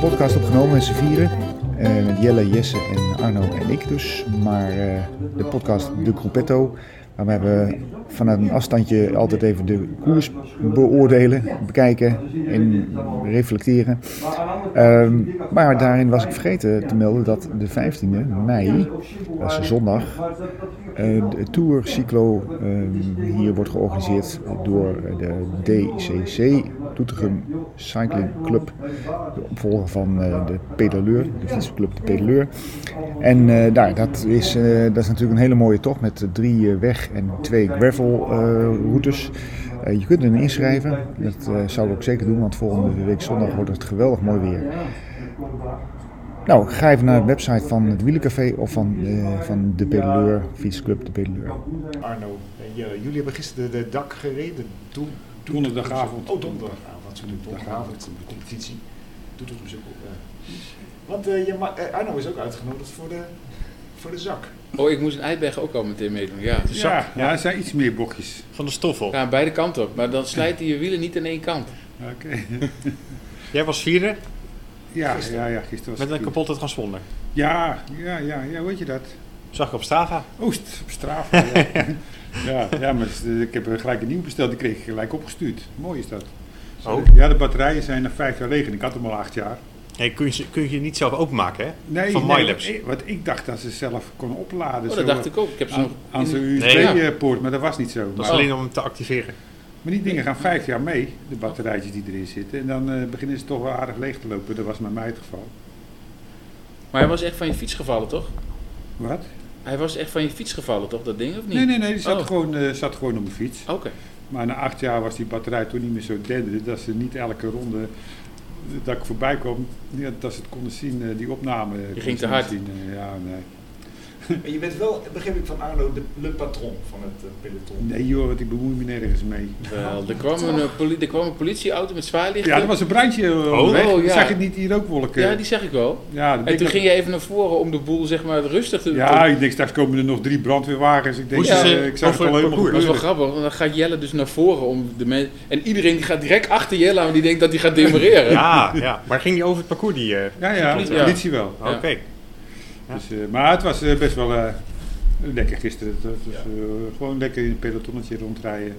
podcast opgenomen met z'n vieren. Eh, met Jelle, Jesse en Arno en ik dus. Maar eh, de podcast De Gruppetto. Waar we hebben vanuit een afstandje altijd even de koers beoordelen, bekijken en reflecteren. Ehm, maar daarin was ik vergeten te melden dat de 15e mei, dat is een zondag, Ehm, eh, de Tour Cyclo ehm, hier wordt georganiseerd door de DCC, Doetinchem Cycling Club, de opvolger van eh, de Pedaleur, de fietsclub de Pedaleur. En eh, daar, dat, is, eh, dat is natuurlijk een hele mooie tocht met drie eh, weg- en twee gravel-routes. Eh, je kunt erin inschrijven, dat eh, zou ik ook zeker doen, want volgende week zondag wordt het geweldig mooi weer. Nou, ga even naar de website van het Wielencafé of van, eh, van de Pedaleur, fietsclub de Pedaleur. Arno, eh, Jelle, jullie hebben gisteren de, de dak gereden. Toen, toen, Donderdagavond. Oh, donderdagavond. Sorry, donderdagavond. De competitie. Doet ons ook op. eh. Want eh, je ma- eh, Arno is ook uitgenodigd voor de, voor de zak. Oh, ik moest in Eidberg ook al meteen meedoen. Ja, Ja, ja. er zijn iets meer bochtjes. Van de stoffel. ja aan beide kanten op. Maar dan slijten je wielen niet aan één kant. Oké. Jij was vierde Ja, Gisteren. ja, ja, gisteren was met het een goed. kapotte transponder. Ja, ja, ja, ja, weet je dat? Zag ik op Strava. Oost, op straat. ja. ja, ja, maar het is- ik heb er gelijk een nieuw besteld, die kreeg ik gelijk opgestuurd. Mooi is dat. Oh. Ja, de batterijen zijn na vijf jaar leeg en ik had hem al acht jaar. Nee, kun je, ze- kun je niet zelf openmaken, hè? Nee, Van nee, Mylabs. eh, Want ik dacht dat ze zelf kon opladen. Oh, zo, dat dacht ik ook. Ik heb ze nog Aan, aan zo'n in- Nee, ja. USB-poort, eh, maar dat was niet zo. Dat Maar, is alleen om hem te activeren. maar die dingen gaan vijf jaar mee, de batterijtjes die erin zitten. En dan eh, beginnen ze toch wel aardig leeg te lopen. Dat was met mij het geval. Maar hij was echt van je fiets gevallen, toch? Wat? Hij was echt van je fiets gevallen, toch? Dat ding, of niet? Nee, nee, nee, die zat, Oh. gewoon, eh, zat gewoon op mijn fiets. Oké. Maar na acht jaar was die batterij toen niet meer zo dende dat ze niet elke ronde dat ik voorbij kwam, ja, dat ze het konden zien, eh, die opname. eh, konden ging te ze hard. Zien, eh, ja, nee. En je bent wel, begreep ik van Arno, de le patron van het eh, peloton. nee joh, want ik bemoei me nergens mee. Wel, er kwam, een, eh, poli- er kwam een politieauto met zwaarlichten. Ja, er was een brandje eh, onderweg. oh, ja. Zag je niet die rookwolken? Ja, die zeg ik wel. Ja, dat En ik toen dat- ging je even naar voren om de boel zeg maar rustig te ja, ik denk straks komen er nog drie brandweerwagens. Ik denk, Moesten ja, ze ik zag het over al het helemaal Dat was parcours? wel gebeuren. grappig, want dan gaat Jelle dus naar voren om de mensen. En iedereen die gaat direct achter Jelle aan, die denkt dat hij gaat demareren. Ja, ja. Maar ging die over het parcours die... eh, Ja, ja, Ja. de politie wel. Oké. Ja. Dus, eh, maar het was eh, best wel eh, lekker gisteren. Het was, eh, gewoon lekker in het pelotonnetje rondrijden.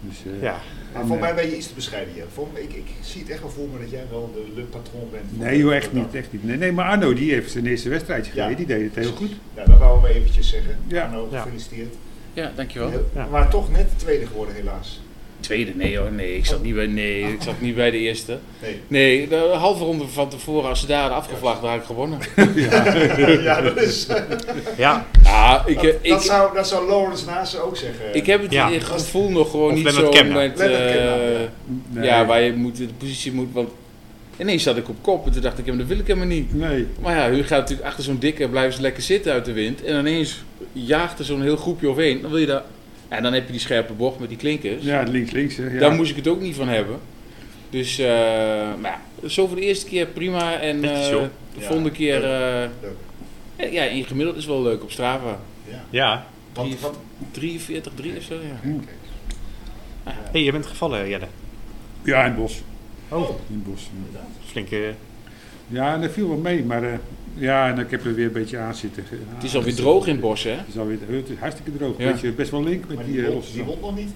Dus, eh, Ja. Maar voor mij ben je iets te bescheiden hier. Voor, ik, ik zie het echt wel voor me dat jij wel de le patron bent. van Nee, joh, de- echt de niet. dak. Echt niet. Nee, nee, maar Arno die heeft zijn eerste wedstrijdje Ja. gereden. Die deed het heel goed. Ja, dat wou we eventjes zeggen. Ja. Arno, Ja. gefeliciteerd. Ja, dankjewel. Ja. Maar toch net de tweede geworden helaas. Tweede, nee hoor, nee, ik zat niet bij, nee, ik zat niet bij de eerste. Oh. Nee. Nee, de halve ronde van tevoren, als ze daar hadden afgevlaagd, dan had ik gewonnen. ja, dat is... Ja. Ja, ik, dat, ik, dat zou, dat zou Lawrence Nase ook zeggen. ik heb het Ja. gevoel nog gewoon Of niet Lennart zo Kemna. met, Lennart eh, Kemna, ja. Nee. ja, waar je moet, de positie moet, want ineens zat ik op kop en toen dacht ik, ja, maar dat wil ik helemaal niet. Nee. Maar ja, u gaat natuurlijk achter zo'n dikke, blijven ze lekker zitten uit de wind. En ineens jaagt er zo'n heel groepje overheen. Dan wil je daar, en dan heb je die scherpe bocht met die klinkers. Ja, links, links. hè, Ja. Daar moest ik het ook niet van hebben. Dus, eh, maar ja, zo voor de eerste keer prima. En Netjes, eh, joh. de Ja, volgende keer, eh, leuk. ja, in gemiddeld is wel leuk op Strava. Ja. Ja. Want, want 43, 3 of zo, ja. Hé, hey, je bent gevallen, Jelle. ja, in het bos. Oh. In het bos. Flinke... Ja, en dat viel wel mee. Maar eh, ja, en ik heb er weer een beetje aan zitten. dus, eh, Het is alweer droog in het bos, hè? Het is alweer het is hartstikke droog. Ja. Weet je, best wel link met maar die, die, eh, wond, losse die zand. wond nog niet?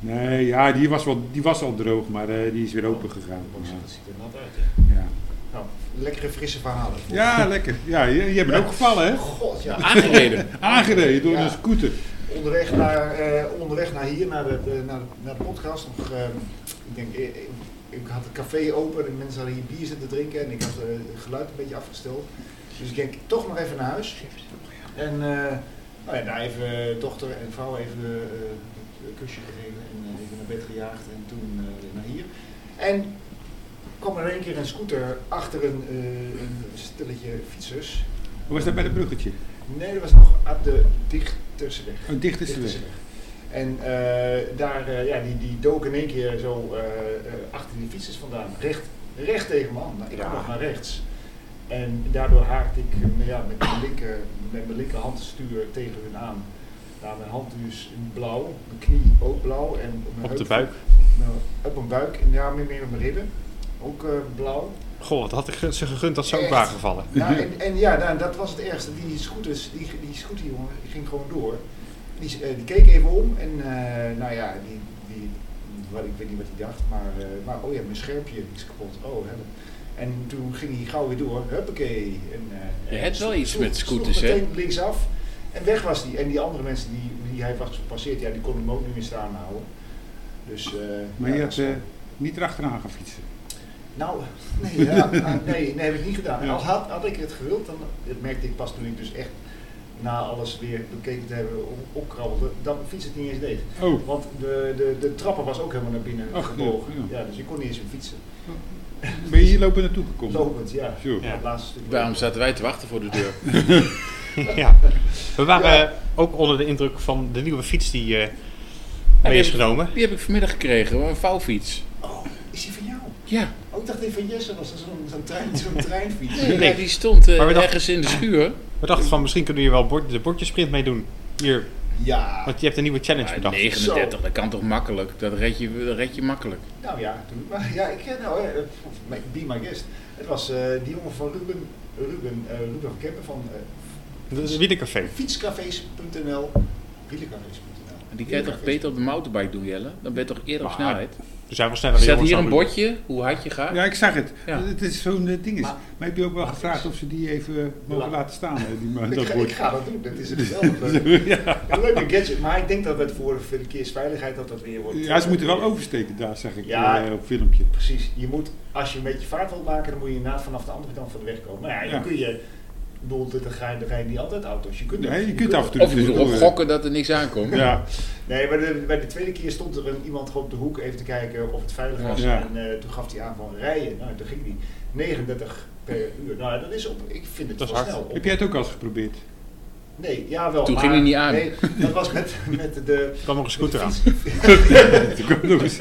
Nee, ja, die was, wel, die was al droog, maar eh, die is weer open gegaan. Dat ziet er nat uit. hè. Ja, Nou, lekkere frisse verhalen. ja lekker. Ja, je, je bent ook gevallen, hè? Ah, God, ja. Aangereden. Aangereden door Ja. een scooter. Onderweg naar, eh, onderweg naar hier, naar de, de- naar de, naar de podcast. Nog, eh, ik, denk, eh, ik, ik had het café open en mensen hadden hier bier zitten drinken. En ik had eh, het geluid een beetje afgesteld. Dus ik denk, toch nog even naar huis. En eh, nou ja, daar even eh, dochter en vrouw even eh, een kusje gegeven. En eh, even naar bed gejaagd en toen eh, naar hier. En kwam er in één keer een scooter achter een, eh, een stilletje fietsers. Hoe was dat bij dat bruggetje? Oh, Nee, dat was nog aan de dichtersweg. Een dichterste weg. Dichtersweg. En eh, daar, eh, ja, die, die dook in één keer zo eh, eh, achter die fietsers vandaan. Recht, recht tegen me aan. Nou, ik Ja. ja. nog naar rechts. En daardoor haakte ik eh, ja, met, mijn linker, met mijn linkerhand stuur tegen hun aan. Nou, mijn hand dus blauw, mijn knie ook blauw. En mijn Op de heup- buik. nou, op mijn buik, en ja, meer, meer op mijn ribben. Ook eh, blauw. Goh, wat had ik ge- ze gegund dat ze ook Echt? waren gevallen. Nou, en, en ja, nou, dat was het ergste. Die scooters, die, die scooterjongen, die ging gewoon door. Die, s- eh, die keek even om en eh, nou ja, die, die, wat, ik weet niet wat hij dacht, maar, eh, maar oh ja, mijn schermpje is kapot. Oh, hè. En toen ging hij gauw weer door. Huppakee. En, eh, Je en hebt wel sloeg- iets sloeg- met sloeg scooters, hè? meteen linksaf en weg was die. En die andere mensen die, die hij was gepasseerd, ja, die konden hem ook niet meer staan houden. Dus, eh, Maar ja, je dat hebt is- eh, niet erachteraan gaan fietsen. nou, nee, ja, ah, nee, nee, heb ik niet gedaan. En Ja. Al had, had ik het gewild, dan dat merkte ik pas toen ik dus echt na alles weer bekeken te hebben op- opkrabbelde, dat mijn fiets het niet eens deed. Oh, Want de, de, de trappen was ook helemaal naar binnen Ach, gebogen. ja, Ja. dus je kon niet eens meer fietsen. ben je hier lopen naartoe gekomen? Lopend, ja. Zo. Ja. Het laatste stuk. Daarom zaten wij te wachten voor de deur. ja. We waren eh, ook onder de indruk van de nieuwe fiets die eh, mee is heb- genomen. Die heb ik vanmiddag gekregen, een vouwfiets. Oh, is die van jou? Ja, Oh, ik dacht die van Jesse was dat zo'n zo'n trein, zo'n treinfiets. nee, ja, die stond eh, Maar we dachten- Ah, ergens in de schuur. We dachten van misschien kunnen we hier wel bord, de bordjesprint mee doen. Hier, Ja, want je hebt een nieuwe challenge Maar bedacht. 39, Ah, dat kan toch makkelijk? Dat red je, dat red je makkelijk. nou ja, toen, maar ja, ik ken nou, eh, eh, be my guest. Het was eh, die jongen van Ruben, Ruben, eh, Ruben van Kempen van eh, Dat is een wielercafé. fietscafés.nl, wielercafés.nl. En Die kan je toch beter op de mountainbike doen, Jelle? Dan ben je toch eerder op Maar- snelheid? We zijn wel Er Dus sneller staat jongens, hier dan een bedoel- bordje, hoe hard je gaat. Ja, ik zag het. Ja. Het is zo'n eh, ding. Is. Maar- Maar, heb je ook wel gevraagd of ze die even eh, mogen La- laten staan? eh, Die, ma- Ik dat ga, ik bordje. ga dat doen, dat is het wel. Een ja. leuke gadget, maar ik denk dat het voor de verkeersveiligheid dat dat weer wordt. ja, ze moeten wel oversteken daar, zeg ik Ja. eh, op filmpje. Precies, je moet, als je een beetje vaart wilt maken, dan moet je inderdaad vanaf de andere kant van de weg komen. Nou ja, dan Ja. kun je, ik bedoel, dat- dan ga je, dan rijden niet altijd auto's. Je kunt, Nee, je kunt af en toe Of je moet erop tussendoor, eh, gokken dat er niks aankomt. Ja, Nee, bij de, bij de tweede keer stond er een, iemand gewoon op de hoek even te kijken of het veilig was. Ja. En eh, toen gaf hij aan van rijden. Nou, toen ging hij 39 per uur. Nou, dat is op, ik vind het Dat is wel hard. snel. Op- heb jij het ook al eens geprobeerd? Nee, jawel. Toen maar- ging hij niet aan. Nee, dat was met, met de, Er kwam nog een scooter aan. Ik ook nog eens.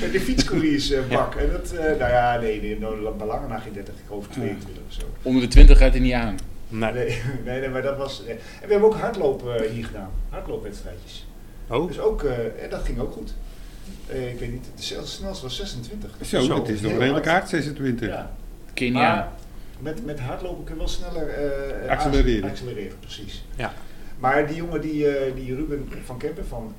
met de fietscouriersbak. En dat, eh, nou ja, nee, nee, no, maar langer na geen 30, ik geloof 22 of zo. Onder de 20 gaat hij niet aan. Nee. Nee, nee, nee, maar dat was... eh, En we hebben ook hardloop eh, hier gedaan. Hardloopwedstrijdjes. Oh, Dus ook, eh, en dat ging ook goed. Eh, ik weet niet, de snel- snelste was 26. Zo, Zo, het is nog heel redelijk hard. hard, 26. Ja. Kun je niet Maar aan. met, met hardlopen kun je wel sneller eh, eh, Accelereren. ac- Accelereren, precies. Ja. Maar die jongen, die, eh, die Ruben van Kempen van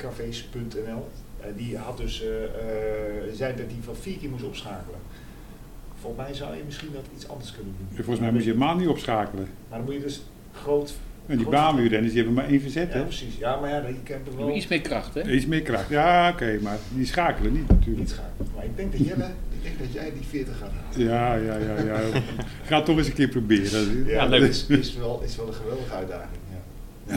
wielercafés.nl, eh, die had dus, eh, eh, zei dat hij van vier keer moest opschakelen. Volgens mij zou je misschien dat iets anders kunnen doen. Volgens mij moet je helemaal niet opschakelen. Maar dan moet je dus groot... En die groot- baanwielrenners, die hebben maar één verzet, Ja, hè? precies. Ja, maar ja, die Kempen Je wel moet iets meer kracht, hè? Iets meer kracht. Ja, oké, maar die schakelen niet natuurlijk. niet gaan. Maar ik denk dat, Jelle, ik denk dat jij die 40 gaat halen. Ja, ja, ja, ja. Ga het toch eens een keer proberen. Dus- Ja, leuk. dat is, is, wel, is wel een geweldige uitdaging. Ja.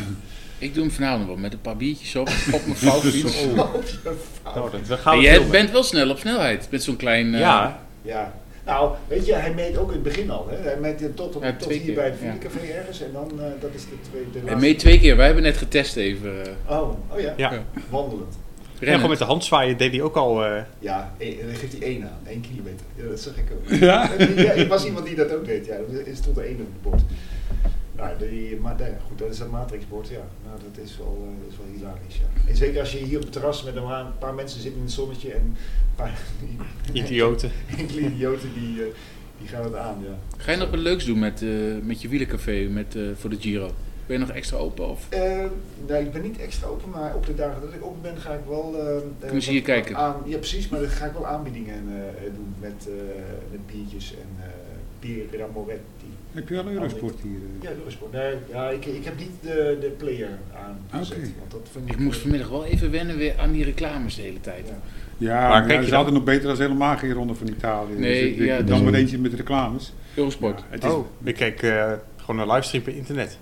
Ik doe hem vanavond wel met een paar biertjes op, op mijn vouwfiets. Oh. nou, dat, dat Maar gaan we jij filmen. bent wel snel op snelheid met zo'n klein. eh, Ja, Ja. Nou, weet je, hij meet ook in het begin al. Hè. Hij meet eh, tot, Ja, tot twee hier keer, bij het ja. Viercafé ergens. En dan, eh, dat is de tweede... De Hij laatste- meet twee keer, wij hebben net getest even. eh, Oh, oh ja. ja. Ja. Wandelend. En rennen. gewoon met de hand zwaaien deed hij ook al. eh, Ja, en en dan geeft hij één aan. één kilometer. Ja, dat zag ik ook. Ja? Ja, ik was iemand die dat ook deed. Ja, er stond er één op het bord. Nou, die, maar nou ja, goed, dat is dat matrixbord, ja. Nou, dat is wel, eh, dat is wel hilarisch, ja. En zeker als je hier op het terras met een paar- een paar mensen zit in het zonnetje en een paar idioten. enkele idioten die, eh, die gaan het aan, ja. Ga je nog wat leuks doen met, eh, met je wielencafé met, eh, voor de Giro? Ben je nog extra open? Of? Eh, nee, ik ben niet extra open, maar op de dagen dat ik open ben ga ik wel... eh, eh, Kunnen ze hier wat- wat kijken? Aan, ja, precies, maar dan ga ik wel aanbiedingen eh, eh, doen met, eh, met biertjes en eh bier Ramoretti. Heb je wel Eurosport hier? eh? Ja, Eurosport. Nee, ja, ik, ik heb niet de, de player aan gezet, Oké. want dat vind ik... eh, Ik moest vanmiddag wel even wennen weer aan die reclames de hele tijd. Ja. Ja, Maar maar kijk dat je is dan- altijd nog beter als helemaal geen ronde van Italië. Nee, Dus ik- ik- ja, dat dan is- weer eentje met reclames. Eurosport. Ja, het is Oh, ik keek eh, gewoon een livestream per internet.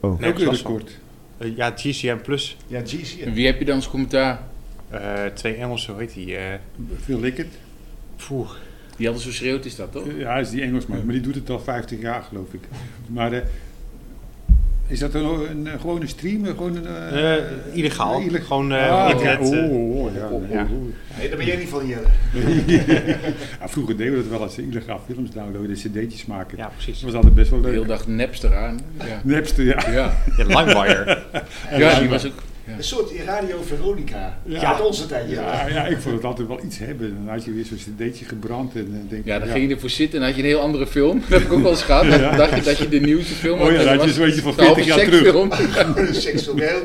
Oh. Nergens ook last van. Eurosport. Eh, ja, GCM Plus. Ja, GC. En wie heb je dan als commentaar? Eh, twee Engels, hoe heet die? eh Phil Lickett. poeh. Die altijd zo schreeuwt, is dat toch? Ja, hij is die Engelsman, maar die doet het al 50 jaar geloof ik. Maar eh, is dat een, een, een gewone stream? een Gewoon een, eh, Eh, illegaal. eh, illegaal? Gewoon eh, Ah, op oké. internet. eh. Oh, oh, ja, oh, ja. Nee, daar ben jij niet van, Jelle. Ja, Ah, vroeger deden we dat wel als ze illegaal films downloaden, cd'tjes maken. ja, Dat precies. was altijd best wel De hele leuk. dag Napster aan. Ja. Nepster, ja. Ja. Ja, LimeWire. ja, die was ook. Ja. Een soort Radio Veronica. Ja. Ja. Uit onze tijd. Ja, ja, ik vond het altijd wel iets hebben. Dan had je weer zo'n cd'tje gebrand en dan denk Ja, daar ik, ging je ervoor zitten en had je een heel andere film. Dat heb ik ook wel eens gehad. Dan dacht je dat je de nieuwste film had. Oh ja, en dat was je zo'n beetje van de halve 40 jaar seksfilm. Seksueel.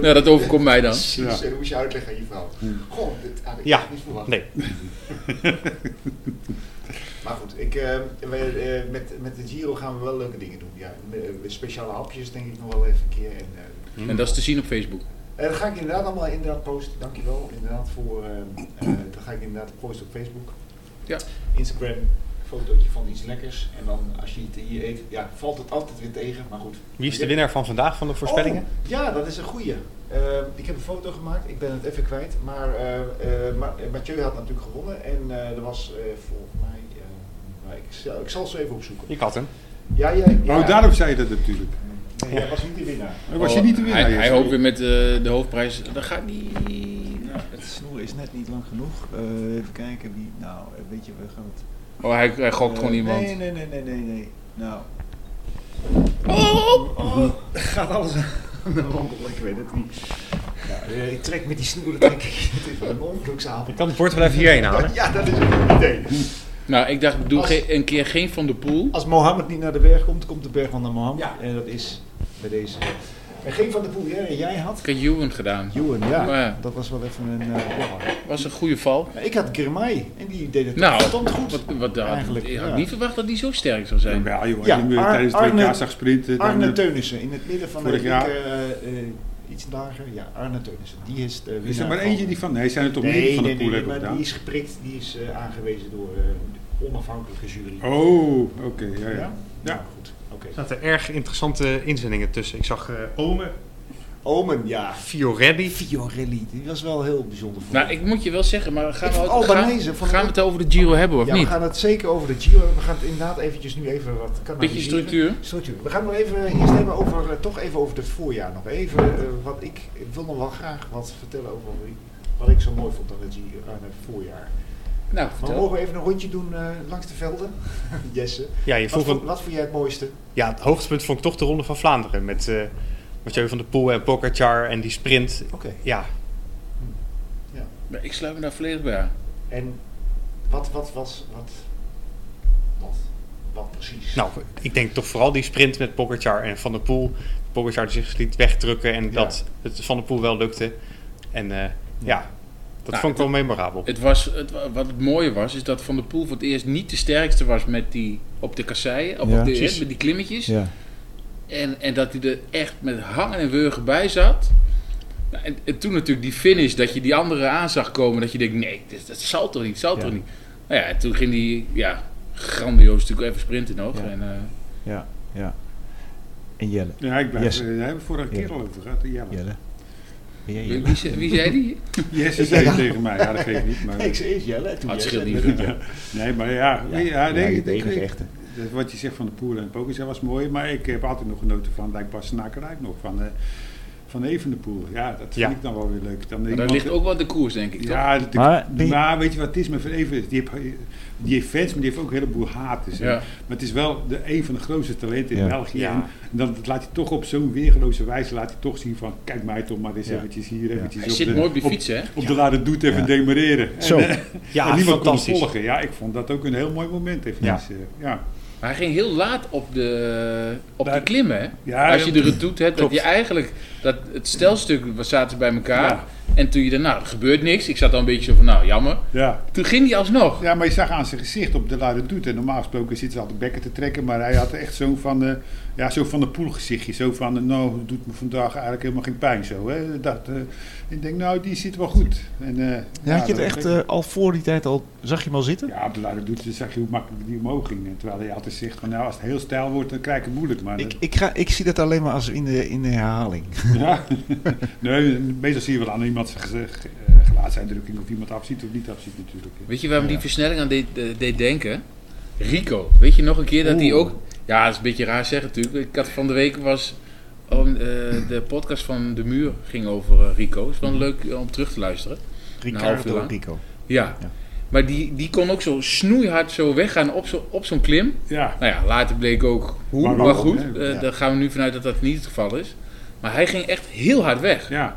Nou, dat overkomt mij dan. Precies, en dan moest je uitleggen aan je vrouw. Goh, dit had ik Ja. echt niet verwacht. Nee. Maar goed, ik, eh, wij, eh, met, met de Giro gaan we wel leuke dingen doen. Ja, Me- speciale hapjes denk ik nog wel even een keer. En, eh, En dat is te zien op Facebook. eh, dat ga ik inderdaad allemaal inderdaad posten. Dankjewel inderdaad voor... eh eh, dat ga ik inderdaad posten op Facebook. Ja. Instagram, fotootje van iets lekkers. En dan als je het hier eet, ja, valt het altijd weer tegen. Maar goed. Wie is de winnaar van vandaag van de voorspellingen? Oh, ja, dat is een goeie. Eh, ik heb een foto gemaakt, ik ben het even kwijt. Maar eh eh, Ma- eh, Mathieu had natuurlijk gewonnen. En eh, er was eh, volgens mij. eh, maar ik, zal, ik zal ze even opzoeken. Ik had hem. Ja, jij. ja. Oh, daarom zei je dat natuurlijk. Nee, jij was niet de winnaar. Dan was je niet de winnaar. Oh, Hij, hij Jesse. hoopt weer met eh, de hoofdprijs. Dat gaat niet. het snoer is net niet lang genoeg. Eh, even kijken wie. Nou, weet je, we gaan het. Eh, Oh, hij, hij gokt gewoon iemand. Nee, nee, nee, nee, nee, nee. Nou. Oh! Gaat alles aan de wandel, ik weet het niet. Ja, eh, ik trek met die snoer, denk ik. Het is wel een ongeluksavond. Ik kan het bord wel even hierheen halen. Ja, dat is een goed idee. Nou, ik dacht, doe Als- ge- een keer geen van de poel. Als Mohammed niet naar de berg komt, komt de berg van de Mohammed. Ja. En dat is bij deze. En geen van de poel, hè? jij had? Ik had Ewan gedaan. Johan, ja. Oh, Ja. Dat was wel even een. eh, ja. Was een goede val. Maar ik had Girmay en die deed het Nou, verdomd goed. Wat, wat, had- Eigenlijk, ik had ja. niet verwacht dat die zo sterk zou zijn. Ja, joh, als Ja, je hem, eh, Ar- tijdens het Arne- WK zag sprinten. dan, Arne eh, Teunissen in het midden van de Vorig week. jaar. eh, eh, iets lager. Ja, Arne Teunissen. Die is de Is er winnaar maar van- eentje die van... Nee, zijn er toch oh. Nee, meer nee, die van nee, de poel nee, hebben maar gedaan? die is geprikt. Die is eh, aangewezen door eh, de onafhankelijke jury. Oh, oké. ja, ja. Ja, Nou, goed. Oké. Er zaten erg interessante inzendingen tussen. Ik zag eh Ome, Omen, ja. Fioretti. Fiorelli, die was wel heel bijzonder. voor Nou, me. ik moet je wel zeggen, maar gaan Ik we, vond het- Albanese, gaan, vond ik gaan we ook- het over de Giro hebben of Ja, we niet? gaan het zeker over de Giro. hebben. We gaan het inderdaad eventjes nu even wat kanaliseren. Beetje structuur. Structuur. We gaan nog even eerst hebben over, eh, toch even over het voorjaar nog. Even eh, wat ik, ik wil nog wel graag wat vertellen over wat ik zo mooi vond aan het, Giro- aan het voorjaar. Nou, Maar vertel. mogen we even een rondje doen eh, langs de velden? Jesse, Ja, je wat, vroeg vond, een, wat vond jij het mooiste? ja, het hoogtepunt vond ik toch de Ronde van Vlaanderen. Met eh Mathieu van der Poel en Pogacar en die sprint. Oké. Ja, Maar Ik sluit me daar volledig bij aan. En wat, wat was, wat, wat, wat precies? nou, ik denk toch vooral die sprint met Pogacar en Van der Poel. Pogacar die zich dus liet wegdrukken en Ja. dat het Van der Poel wel lukte. En eh, ja, dat Nou, vond ik wel memorabel. Het was, het, wa- wat het mooie was, is dat Van der Poel voor het eerst niet de sterkste was met die, op de kasseien, op, Ja, op de, precies. hè, met die klimmetjes. Ja. En, en dat hij er echt met hangen en wurgen bij zat. Nou, En, en toen natuurlijk die finish, dat je die andere aan zag komen. Dat je denkt, nee, dit, dat zal toch niet, zal Ja. toch niet. Nou ja, en toen ging die, ja, grandioos natuurlijk even sprinten nog. Ja. En, eh, ja, ja. En Jelle. Ja, ik blijf, Yes. eh, daar hebben we vorige keer Ja. al over gehad. Jelle. Jelle. Ben jij wie, Jelle? wie, zei- wie zei die? Jesse zei tegen mij. Ja, dat geeft niet. Maar, Nee, ik zei eerst Jelle en toen Ah, het Jesse. scheelt en niet. toen Jelle. nee, maar ja. Ja, nee, ja, ja, nee, je ik- enige ik- echte. dat Wat je zegt van de Poelen en Pokézij was mooi. Maar ik heb altijd nog genoten van Dijkbas Snakerijk nog. Van, eh van Evenepoel. Ja, dat vind Ja. ik dan wel weer leuk. Dan Maar dat iemand- ligt ook wel aan de koers, denk ik, toch? Ja, de- Maar maar, die- weet je wat het is met Van Even? Die heeft, die heeft fans, maar die heeft ook een heleboel haters. hè. Ja. Maar het is wel de, een van de grootste talenten in Ja. België. Ja. En dan laat hij toch op zo'n weergeloze wijze laat hij toch zien van... Kijk mij toch maar eens Ja. eventjes hier, eventjes Hij op zit de, mooi op je op- fiets, hè? Op de lade doet even Ja. demareren. Zo. En, eh, Ja, en niemand kon fantastisch. volgen. Ja, ik vond dat ook een heel mooi moment eventjes. eh, Ja. Maar hij ging heel laat op de, op Daar- de klimmen, hè? Ja, Als ja. je de retoute hebt, dat Klopt. je eigenlijk... Dat het stelstuk, we zaten bij elkaar. Ja. En toen je dacht, nou, er gebeurt niks. Ik zat dan een beetje zo van, nou, jammer. ja. Toen ging hij alsnog. Ja, maar je zag aan zijn gezicht op de lade doet. En normaal gesproken zit ze altijd bekken te trekken. Maar hij had echt zo'n van, eh ja, zo van de poelgezichtje. Zo van, eh, nou, het doet me vandaag eigenlijk helemaal geen pijn. Zo, hè? Dat, eh, ik denk, nou, die zit wel goed. En, eh, Ja, had je het dat- echt eh, al voor die tijd al, zag je hem al zitten? Ja, op de lade doet dan zag je hoe makkelijk die omhoog ging. En terwijl hij altijd zegt, van, nou, als het heel stijl wordt, dan krijg ik het moeilijk. Maar eh, Ik, dat- ik, ga, ik zie dat alleen maar als in de, in de herhaling. ja. nee, meestal zie je wel aan iemand zijn gezicht, eh, gelaatsuitdrukking of iemand afziet of niet afziet natuurlijk. hè. Weet je waarom Ja. die versnelling aan deed, eh, deed denken? Rico. Weet je nog een keer dat hij Oeh. ook... Ja, dat is een beetje raar zeggen natuurlijk. Ik had van de week was... oh, eh, de podcast van De Muur ging over eh, Rico. Het is wel leuk eh, om terug te luisteren. Ricardo lang. Rico. Ja. Ja. Maar die, die kon ook zo snoeihard zo weggaan op zo'n op zo'n klim. Ja, Nou ja, later bleek ook hoe. Maar Maar, waarom, goed, hè? eh, Ja. daar gaan we nu vanuit dat dat niet het geval is. Maar hij ging echt heel hard weg. Ja.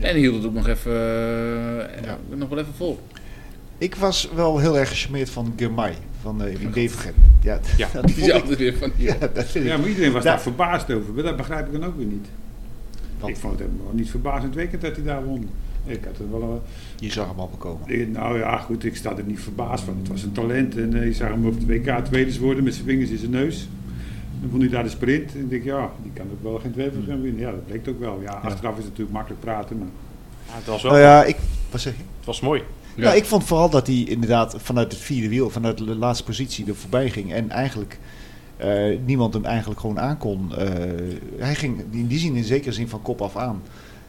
En hield het ook nog even, eh, nog wel even vol. Ik was wel heel erg gecharmeerd van Germay van eh in Devergem. Ja, Ja. dat Die vond is ik- altijd weer van die. ja, dat vind ik. ja, maar iedereen was Ja. daar verbaasd over. Maar dat begrijp ik dan ook weer niet. Wat? Ik vond het helemaal niet verbazend weekend dat hij daar won. Ik had het wel... eh, Je zag hem al bekomen. Eh, Nou ja, goed, ik sta er niet verbaasd van. Het was een talent en eh, je zag hem op de WK tweede worden met zijn vingers in zijn neus. Dan vond hij daar de sprint en ik denk, ja, die kan ook wel geen twijfel gaan winnen. Ja, dat bleek ook wel. Ja, achteraf is het natuurlijk makkelijk praten, maar Ja, het was wel, Nou ja, ik, wat zeg je? het was mooi. Ja. Nou, ik vond vooral dat hij inderdaad vanuit het vierde wiel, vanuit de laatste positie er voorbij ging. En eigenlijk eh, niemand hem eigenlijk gewoon aankon. Eh, hij ging in die zin in zekere zin van kop af aan.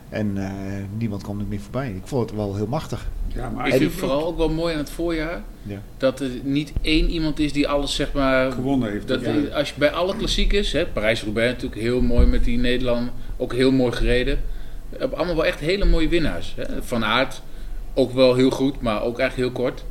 En eh, niemand kwam er meer voorbij. Ik vond het wel heel machtig. ja, maar als Ik je vind het vooral ook wel mooi aan het voorjaar. Ja. Dat er niet één iemand is die alles zeg maar. gewonnen heeft. Dat, ja. Als je bij alle klassiekers, hè, Parijs-Roubaix natuurlijk heel mooi met die Nederland, ook heel mooi gereden. We hebben allemaal wel echt hele mooie winnaars. Hè. Van Aert ook wel heel goed, maar ook echt heel kort.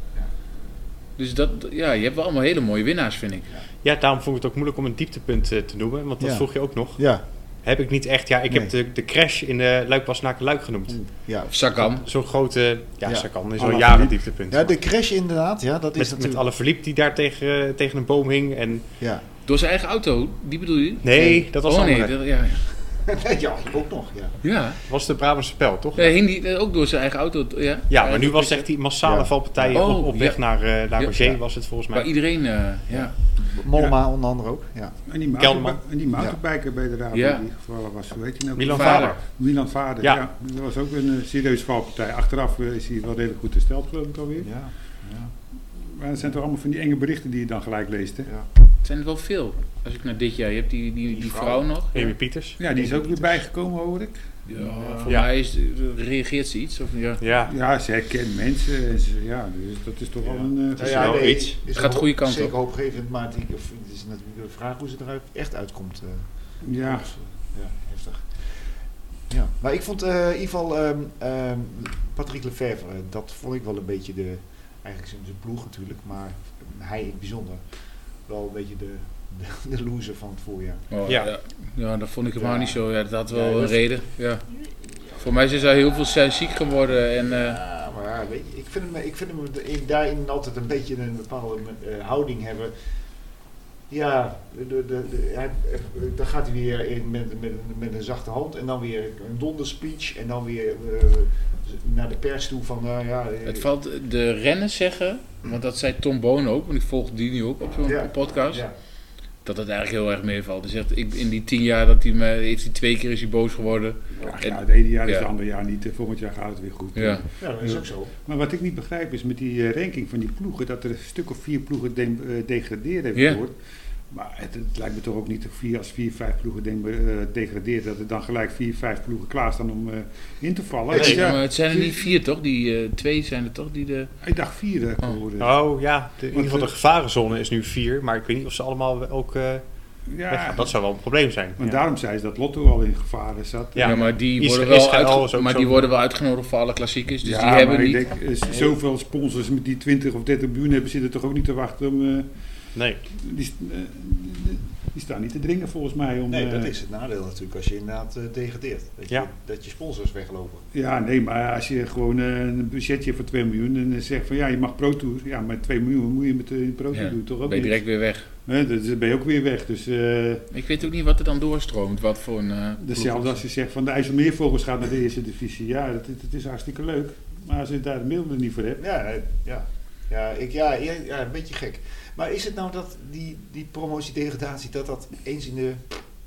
Dus dat, ja, je hebt wel allemaal hele mooie winnaars, vind ik. Ja, daarom vond ik het ook moeilijk om een dieptepunt eh, te noemen, want dat Ja. vroeg je ook nog. Ja, Heb ik niet echt, ja, ik heb de, de crash in de luik luik genoemd. ja. Sagan, Zo'n grote, Ja. ja, Oh, Sagan is al Alaphilippe. jaren dieptepunt. ja, de crash inderdaad. Ja, dat is met, met natuurlijk... alle verliep die daar tegen, eh, tegen een boom hing. En, Ja, door zijn eigen auto, die bedoel je? Nee, dat was oh, een nee, andere. dat- ja, ja. ja ook nog. Ja. ja. was de Brabantse pijl, toch? Nee, hing die eh, ook door zijn eigen auto? Ja, Ja, maar nu was echt die massale Ja. valpartijen Oh, op, op weg ja. naar, eh naar Ja. Roger, Ja. was het volgens Waar mij. iedereen, eh, ja. Mollema onder andere ook. Ja. En die, Kelderman. mountainbi- en die mountainbiker bij de raad Ja. in die gevallen was, hoe heet hij nou? Milan Vader. Vader. Milan Vader, Ja. ja. Dat was ook een eh, serieuze valpartij. Achteraf eh, is hij wel redelijk goed hersteld, geloof ik alweer. Ja. Maar het zijn toch allemaal van die enge berichten die je dan gelijk leest, hè? Het zijn er wel veel. Als ik naar dit jaar, je hebt die, die, die, vrouw. nog. Amy Pieters. Ja, die is ook weer bijgekomen, hoor ik. Ja, voor Ja. mij is, reageert ze iets. Of, ja. Ja, Ja, ze herkent mensen. en ze- ja, dus dat is toch wel een... eh, is wel iets. is Het gaat hoop- de goede kant Zeker op. hoopgevend, maar die- of het is natuurlijk de vraag hoe ze er echt uitkomt. eh. ja, Dus, eh, ja, heftig. Ja, maar ik vond eh, in ieder geval ehm, ehm, Patrick Lefevre, eh, dat vond ik wel een beetje de, eigenlijk zijn, zijn ploeg natuurlijk, maar hij in het bijzonder, wel een beetje de, de, de loser van het voorjaar. Oh, Ja. ja. ja. dat vond ik helemaal Ja. niet zo. Ja, dat had wel Ja, een dat- reden. Ja. Voor mij zijn ze heel veel zijn ziek geworden. En, eh, Ja, maar ja, weet je, ik vind hem, ik vind hem in- daarin altijd een beetje een bepaalde eh, houding hebben. Ja, de, de, de, hij- eh, dan gaat hij weer in met, met, met een zachte hand en dan weer een donderspeech en dan weer eh, naar de pers toe van nou ja... eh, het valt de renners zeggen, want dat zei Tom Boon ook, want ik volg die nu ook op zo'n Ja. podcast, ja. dat het eigenlijk heel erg meevalt. Hij zegt, ik, in die tien jaar dat hij me, heeft hij twee keer is hij boos geworden. Ach, En- ja, het ene jaar is ja. het andere jaar niet. eh, Volgend jaar gaat het weer goed. Ja. ja, dat is ook zo. Maar wat ik niet begrijp is met die eh, ranking van die ploegen... dat er een stuk of vier ploegen de- eh, degraderen heeft Ja. geworden. Maar het, het lijkt me toch ook niet dat vier, als vier, vijf ploegen de- eh, degraderen... dat er dan gelijk vier, vijf ploegen klaarstaan om eh, in te vallen. Nee, Dus ja, maar het zijn er niet vier toch? Die eh, twee zijn er toch die de... Ik dacht vier eh, Oh. geworden. oh ja, de, in ieder geval de gevarenzone is nu vier, maar ik weet niet of ze allemaal ook eh, Ja, weggaan. Dat zou wel een probleem zijn. want Ja. daarom zei ze dat Lotto al in gevaar zat. Ja. Ja, maar die Is- worden, wel, Israël uitge- is ook maar zo. die worden wel uitgenodigd voor alle klassiekers. Dus ja, die hebben maar niet... ik denk, eh, z- zoveel sponsors met die 20 of 30 miljoen hebben zitten toch ook niet te wachten om... eh, Nee, Die, st- eh, die staan niet te dringen volgens mij. Om, Nee, dat eh, is het nadeel natuurlijk als je inderdaad eh, degradeert. Dat je, Ja. dat je sponsors weglopen. Ja, nee, maar als je gewoon eh, een budgetje voor 2 miljoen en eh, zegt van ja, je mag Pro Tour. Ja, maar 2 miljoen moet je met de Pro Tour Ja, doen, toch ook ben je niet? direct weer weg. Hè, dus dan ben je ook weer weg. Dus eh, Ik weet ook niet wat er dan doorstroomt. Wat voor een... eh, ploeg. hetzelfde als je zegt van de IJsselmeervogels gaat naar de eerste divisie. Ja, dat, dat is hartstikke leuk. Maar als je daar de middelen niet voor hebt. Ja, eh, ja. Ja, ik, ja, ja, ja, een beetje gek. Maar is het nou dat die, die promotiedegradatie, dat dat eens in de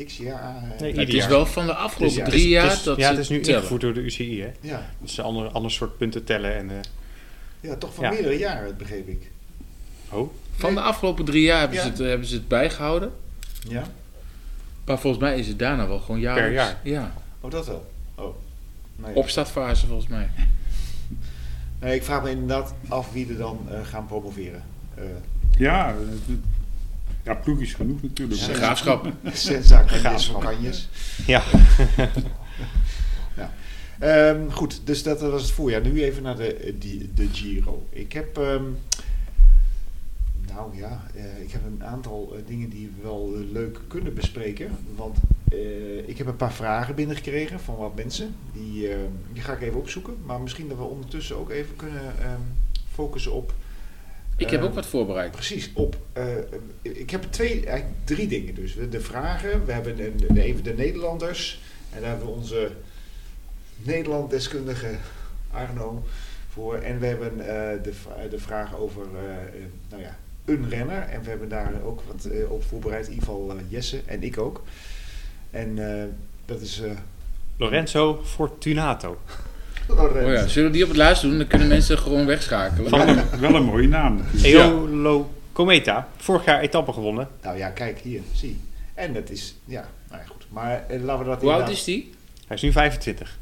x jaar... eh, Nee, Ja, het is Ieder jaar. wel van de afgelopen Het is- drie jaar het is, dat ja, ze het is nu tellen. ingevoerd door de UCI, hè. ja, Dat ze een ander, ander soort punten tellen en... eh, ja, toch van Ja. meerdere jaren, begreep ik. oh, Van de afgelopen drie jaar hebben, Ja. ze het, eh, hebben ze het bijgehouden. Ja? Maar volgens mij is het daarna wel gewoon jaarlijks. jaar. Ja, Oh, dat wel. Oh. Nee. opstartfase volgens mij. nee, ik vraag me inderdaad af wie er dan eh, gaan promoveren. Eh Ja, eh, ja ploeg is genoeg natuurlijk. De graafschap. Senza Kanjes Graafschap. van Kanjes. ja. Ehm, goed, dus dat was het voorjaar. Nu even naar de, eh, die, de Giro. Ik heb, ehm, nou ja, eh, ik heb een aantal eh, dingen die we wel eh, leuk kunnen bespreken. Want Eh, ik heb een paar vragen binnengekregen van wat mensen. Die, eh, die ga ik even opzoeken. Maar misschien dat we ondertussen ook even kunnen ehm, focussen op. Ik heb eh, ook wat voorbereid. Precies, op. eh, ik heb twee, eigenlijk drie dingen. Dus we- de vragen, we hebben een, een- even de Nederlanders. En daar hebben we onze Nederland-deskundige Arno voor. En we hebben eh, de, v- de vraag over eh, eh, nou ja, een renner. En we hebben daar ook wat eh, op voorbereid. In ieder geval eh, Jesse en ik ook. En eh, dat is. eh Lorenzo Fortunato. Laurent. Oh ja, zullen we die op het laatst doen? Dan kunnen mensen gewoon wegschakelen. Wel een, wel een mooie naam. natuurlijk. Eolo Cometa. Vorig jaar etappe gewonnen. Nou ja, kijk hier, zie. En dat is. Ja, nou ja, goed. Maar eh, laten we dat. Hoe oud inderdaad- is die? Hij is nu 25.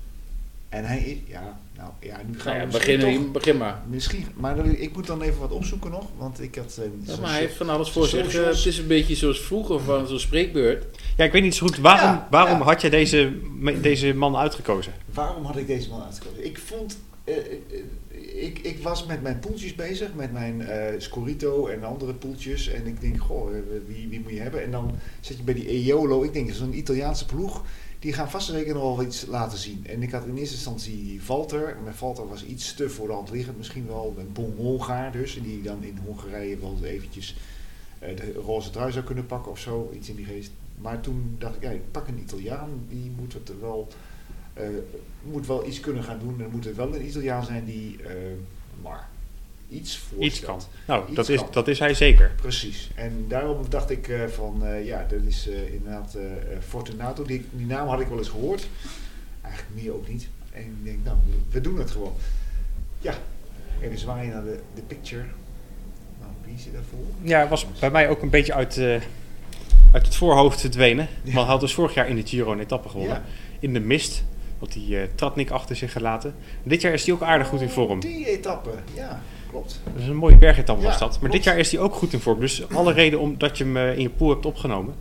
En hij is. Ja, nou ja, nu gaan Nou ja, we. begin, misschien toch- hier- begin maar. Misschien, maar dan- ik moet dan even wat opzoeken nog, want ik had... eh, Ja, zo'n maar hij heeft van alles voor voor zich. zich. Eh, het is een beetje zoals vroeger van zo'n spreekbeurt. Ja, ik weet niet zo goed. Waarom, Ja, waarom ja. had je deze, me- deze man uitgekozen? Waarom had ik deze man uitgekozen? Ik vond... eh, eh, ik, ik was met mijn poeltjes bezig, met mijn eh Scorito en andere poeltjes. En ik denk, goh, eh, wie, wie moet je hebben? En dan zit je bij die Eolo. Ik denk, dat is een Italiaanse ploeg. Die gaan vast en zeker nog wel iets laten zien. En ik had in eerste instantie Valter. Mijn Valter was iets te voor de hand liggend. Misschien wel een bon Hongaar dus. Die dan in Hongarije wel eventjes eh, de roze trui zou kunnen pakken of zo. Iets in die geest. Maar toen dacht ik, ja, ik pak een Italiaan. Die moet het er wel eh, moet wel iets kunnen gaan doen. Er moet er wel een Italiaan zijn die eh, maar iets voorstelt. Iets kan. Nou, Iets dat, is, kan. dat is hij zeker. Precies. En daarom dacht ik eh, van, eh, ja, dat is eh, inderdaad eh, eh, Fortunato. Die, die naam had ik wel eens gehoord. Eigenlijk meer ook niet. En ik denk, nou, we doen het gewoon. Ja, even zwaaien naar de, de picture. Nou, wie zit daarvoor? Ja, het was bij mij ook een beetje uit, eh, uit het voorhoofd verdwenen. Ja. Want hij had dus vorig jaar in de Giro een etappe gewonnen. Ja. In de mist. Want die eh, Tratnik achter zich gelaten. En dit jaar is hij ook aardig goed in vorm. Die etappe, ja, klopt. Dat is een mooie bergetappe was Ja, dat. Maar klopt. dit jaar is hij ook goed in vorm. Dus alle reden omdat je hem eh, in je pool hebt opgenomen.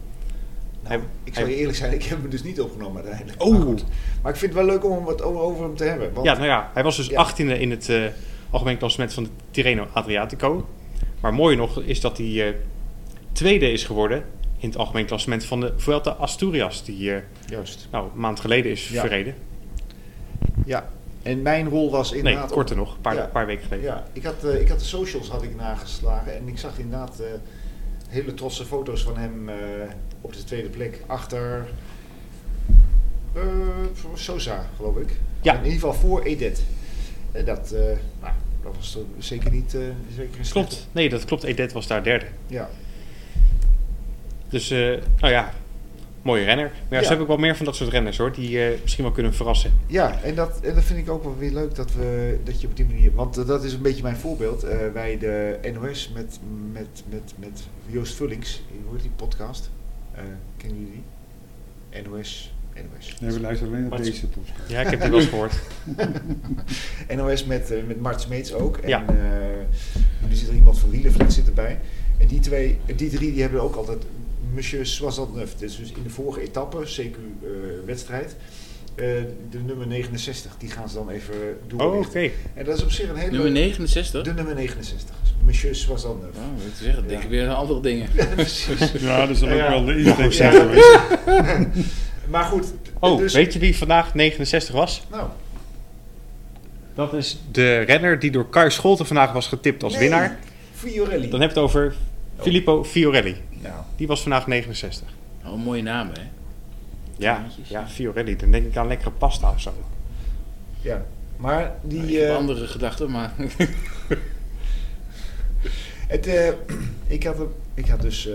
Nou, Hij- ik zou je eerlijk zijn, ik heb hem dus niet opgenomen uiteindelijk. Oh. Maar, goed. maar ik vind het wel leuk om hem wat o- over hem te hebben. Want Ja, nou ja, hij was dus Ja. 18e in het eh, algemeen klassement van de Tirreno Adriatico. Maar mooier nog is dat hij eh, tweede is geworden in het algemeen klassement van de Vuelta Asturias. Die eh, Juist. nou, een maand geleden is Ja. verreden. Ja, en mijn rol was Nee, inderdaad... korter nog, een paar, Ja. paar weken geleden. Ja, ik had, eh, ik had de socials had ik nageslagen en ik zag inderdaad eh, hele trotse foto's van hem eh, op de tweede plek achter eh, voor Sosa, geloof ik. Ja. In ieder geval voor Edet. En dat, eh, nou, dat was toch zeker niet... eh, zeker een slechte- Klopt, nee, dat klopt. Edet was daar derde. Ja. Dus, eh, nou ja, mooie renner. Maar ja, Ja. ze hebben ook wel meer van dat soort renners hoor, die eh, misschien wel kunnen verrassen. Ja, en dat, en dat vind ik ook wel weer leuk dat, we, dat je op die manier. Want eh, dat is een beetje mijn voorbeeld. Eh, wij de NOS met, met, met, met Joost Vullings, hoe heet die podcast? Eh, kennen jullie die? NOS. NOS. Nee, we luisteren alleen naar Maar het is- deze podcast. Ja, ik heb die wel eens gehoord. NOS met, eh, met Mart Smeets ook. En Ja. ja. er zit er iemand van Wielenvliet zit erbij. En die, twee, die drie die hebben ook altijd Monsieur Soisatneuf. Dus, dus in de vorige etappe, CQ-wedstrijd, eh, de nummer 69. Die gaan ze dan even doen. Oh, oké. En dat is op zich een hele... Nummer 69? De nummer 69. Monsieur Soisatneuf. Nou, wat te zeggen, denk Ja. ik weer aan andere dingen. Ja, precies. Ja, dat zal ook Ja. wel de Ja. insteek zijn geweest. Maar goed. d- Oh, dus, weet je wie vandaag 69 was? Nou, Dat is de renner die door Kai Scholten vandaag was getipt als nee, winnaar. Fiorelli. Dan heb je het over Filippo Fiorelli. Nou, Die was vandaag 69. Oh, een mooie naam, hè? Ja, Netjes. ja, Fiorelli. Dan denk ik aan lekkere pasta of zo. ja. Maar die... ik heb eh, andere gedachten, maar... Het, eh, ik, had, een- ik had dus eh,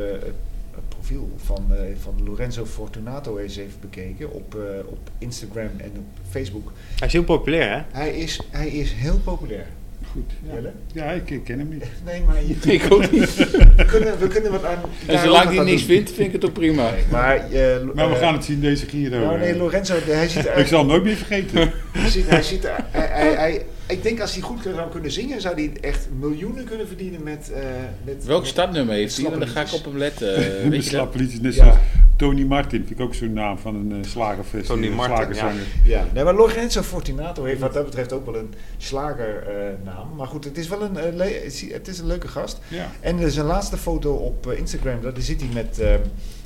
het profiel van, eh, van Lorenzo Fortunato eens even bekeken op, eh, op Instagram en op Facebook. Hij is heel populair, hè? Hij is, hij is heel populair. Goed. Ja, Jelle? ja ik, ik ken hem niet. Nee, maar je, ik ook niet. we, kunnen, we kunnen wat aan. En daar zolang ook hij wat aan niks doen. vindt, vind ik het ook prima. Nee, maar, eh, Maar we eh, gaan het zien deze Giro. Nou, nee, eh. Lorenzo, de- hij ziet ik eruit. zal hem nooit meer vergeten. Hij ziet, hij ziet, er- hij, hij, hij- ik denk als hij goed zou kunnen zingen, zou hij echt miljoenen kunnen verdienen met. eh met Welk met- startnummer heeft hij? Slappe Want dan ga ik liedjes. op hem letten. eh, Een weet je dat? slappe liedjes, net Ja. zoals Tony Martin. Vind ik ook zo'n naam van een eh, slagerfest. Tony een Martin, slagerzanger. Ja, nee, maar Lorenzo Fortunato heeft wat dat betreft ook wel een slagernaam. maar goed, het is wel een, eh, le- het is een leuke gast. Ja. En er is een laatste foto op eh, Instagram, daar zit hij met, eh,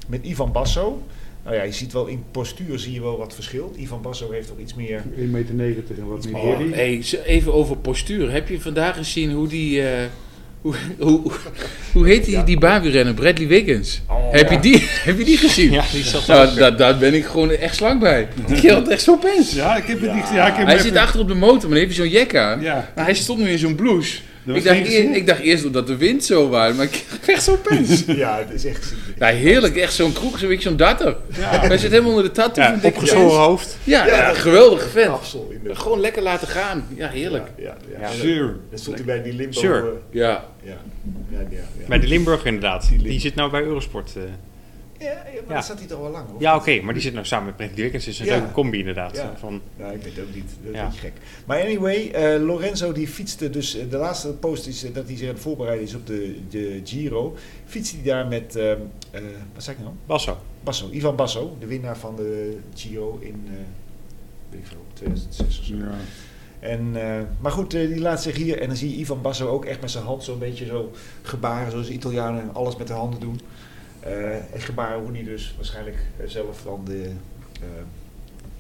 met Ivan Basso. Nou ja, je ziet wel in postuur zie je wel wat verschil. Ivan Basso heeft ook iets meer... 1,90 meter en wat meer. Oh, hey, ze- even over postuur. Heb je vandaag gezien hoe die. eh, hoe, hoe, hoe heet die, die baanwielrenner? Bradley Wiggins. Oh, heb, je ja. die, heb je die gezien? Ja, die zat Nou, da- daar ben ik gewoon echt slank bij. Die geldt echt zo opeens. Ja, ik heb het niet. Ja, ik heb Hij het zit even- achter op de motor, maar dan heeft hij zo'n jek aan. Ja. Maar hij stond nu in zo'n blouse. was Ik dacht, geen eer- gezien. ik dacht eerst dat de wind zo waait, maar ik kreeg echt zo'n pens. Ja, het is echt ziek. Ja, heerlijk, echt zo'n kroeg, zo'n beetje zo'n datter. Hij zit helemaal onder de tattoo. Ja, van dikke opgezworen pens. hoofd. Ja, ja, geweldige vent. Afsel in de... Gewoon lekker laten gaan. Ja, heerlijk. Ja, ja. Ja. Sure. Dan stond hij bij die limbo... Sure. eh, Ja, Ja, ja, ja. ja. Bij de Limburg inderdaad. Die, Lim- zit nou bij Eurosport. eh. Ja, ja, maar Ja. dat zat hij toch wel lang, hoor. Ja, oké, maar die zit nou samen met Brent Wilkins. Dus een Ja. leuke combi inderdaad. Ja. Van, Nou, ik weet het ook niet. Dat Ja. is gek. Maar anyway, eh, Lorenzo die fietste dus... eh, de laatste post is eh, dat hij zich aan het voorbereiden is op de, de Giro. Fietste hij daar met... eh, eh, wat zei ik nou? Basso. Basso. Ivan Basso, de winnaar van de Giro in... eh, weet ik veel, 2006 of zo. Ja. En, eh, maar goed, eh, die laat zich hier. En dan zie je Ivan Basso ook echt met zijn hand zo'n beetje zo gebaren. Zoals de Italianen alles met de handen doen. Eh het gebaren hoe hij dus waarschijnlijk eh, zelf dan de, eh,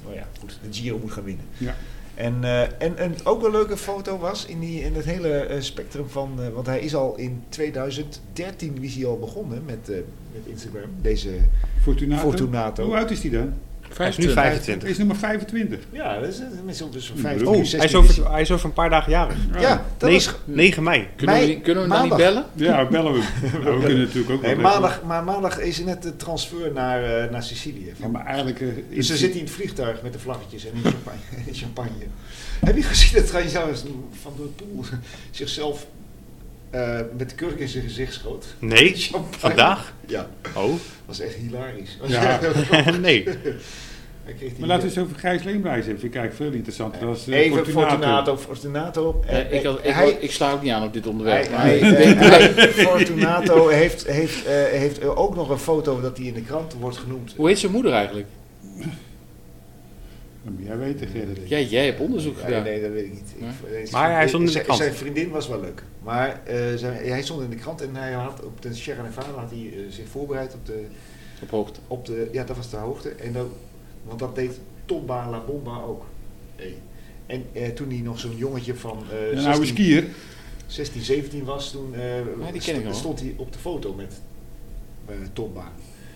nou ja, goed, de Giro moet gaan winnen. Ja. En, eh, en, en ook een leuke foto was in, die, in het hele eh, spectrum van... eh, want hij is al in 2013 is hij al begonnen met, eh, met Instagram. Deze, Fortunato. Fortunato. Hoe oud is die dan? Hij is nu eh, 25. Hij is nummer 25. ja, dat is, dat is dus zo'n- zo'n Oh, 15, hij Oh, is 16 hij is, over, hij is over een paar dagen jarig. Ja, dat is 9, 9 mei. Kunnen, we, Mei- die- kunnen we hem dan niet maandag. bellen? Ja, bellen we. hem. Nou, we kunnen natuurlijk ook Nee, wel maandag, maar maandag is net de transfer naar, eh, naar Sicilië. Ja, maar eigenlijk... eh, Dus is- ze zitten in het vliegtuig met de vlaggetjes en in champagne. in champagne. Heb je gezien dat trouwens van de Poel zichzelf eh, met de kurk in zijn gezicht schoot? Nee, Champagne. vandaag? Ja, Oh, dat was echt hilarisch. Ja. nee. Hij kreeg die- Maar laten we eens over Gijs Leemrijs even. Vind ik eigenlijk veel interessanter. Dat is eh, Even Fortunato. Fortunato. Eh, Eh, ik, had- ik, hij- had- ik sla ook niet aan op dit Hij, onderwerp. maar- hij, eh, hij- Fortunato heeft, heeft, eh, heeft ook nog een foto dat hij in de krant wordt genoemd. Hoe heet zijn moeder eigenlijk? Dat moet jij weten, Gerrit. Ja, jij hebt onderzoek Nee, gedaan. Hm? nee, dat weet ik niet. Ik- Nee? zijn Maar vriendin- hij stond in de zijn- krant. Zijn vriendin was wel leuk. Maar eh, zijn, hij stond in de krant en hij had op de Sierra Nevada had hij eh, zich voorbereid op de, Op hoogte. op de... Ja, dat was de hoogte. En dan, want dat deed Tomba La Bomba ook. En eh, toen hij nog zo'n jongetje van eh, Een nou, oude 16, skier. 16, 17 was, toen eh, ken ik stond, nog. stond hij op de foto met eh, Tomba.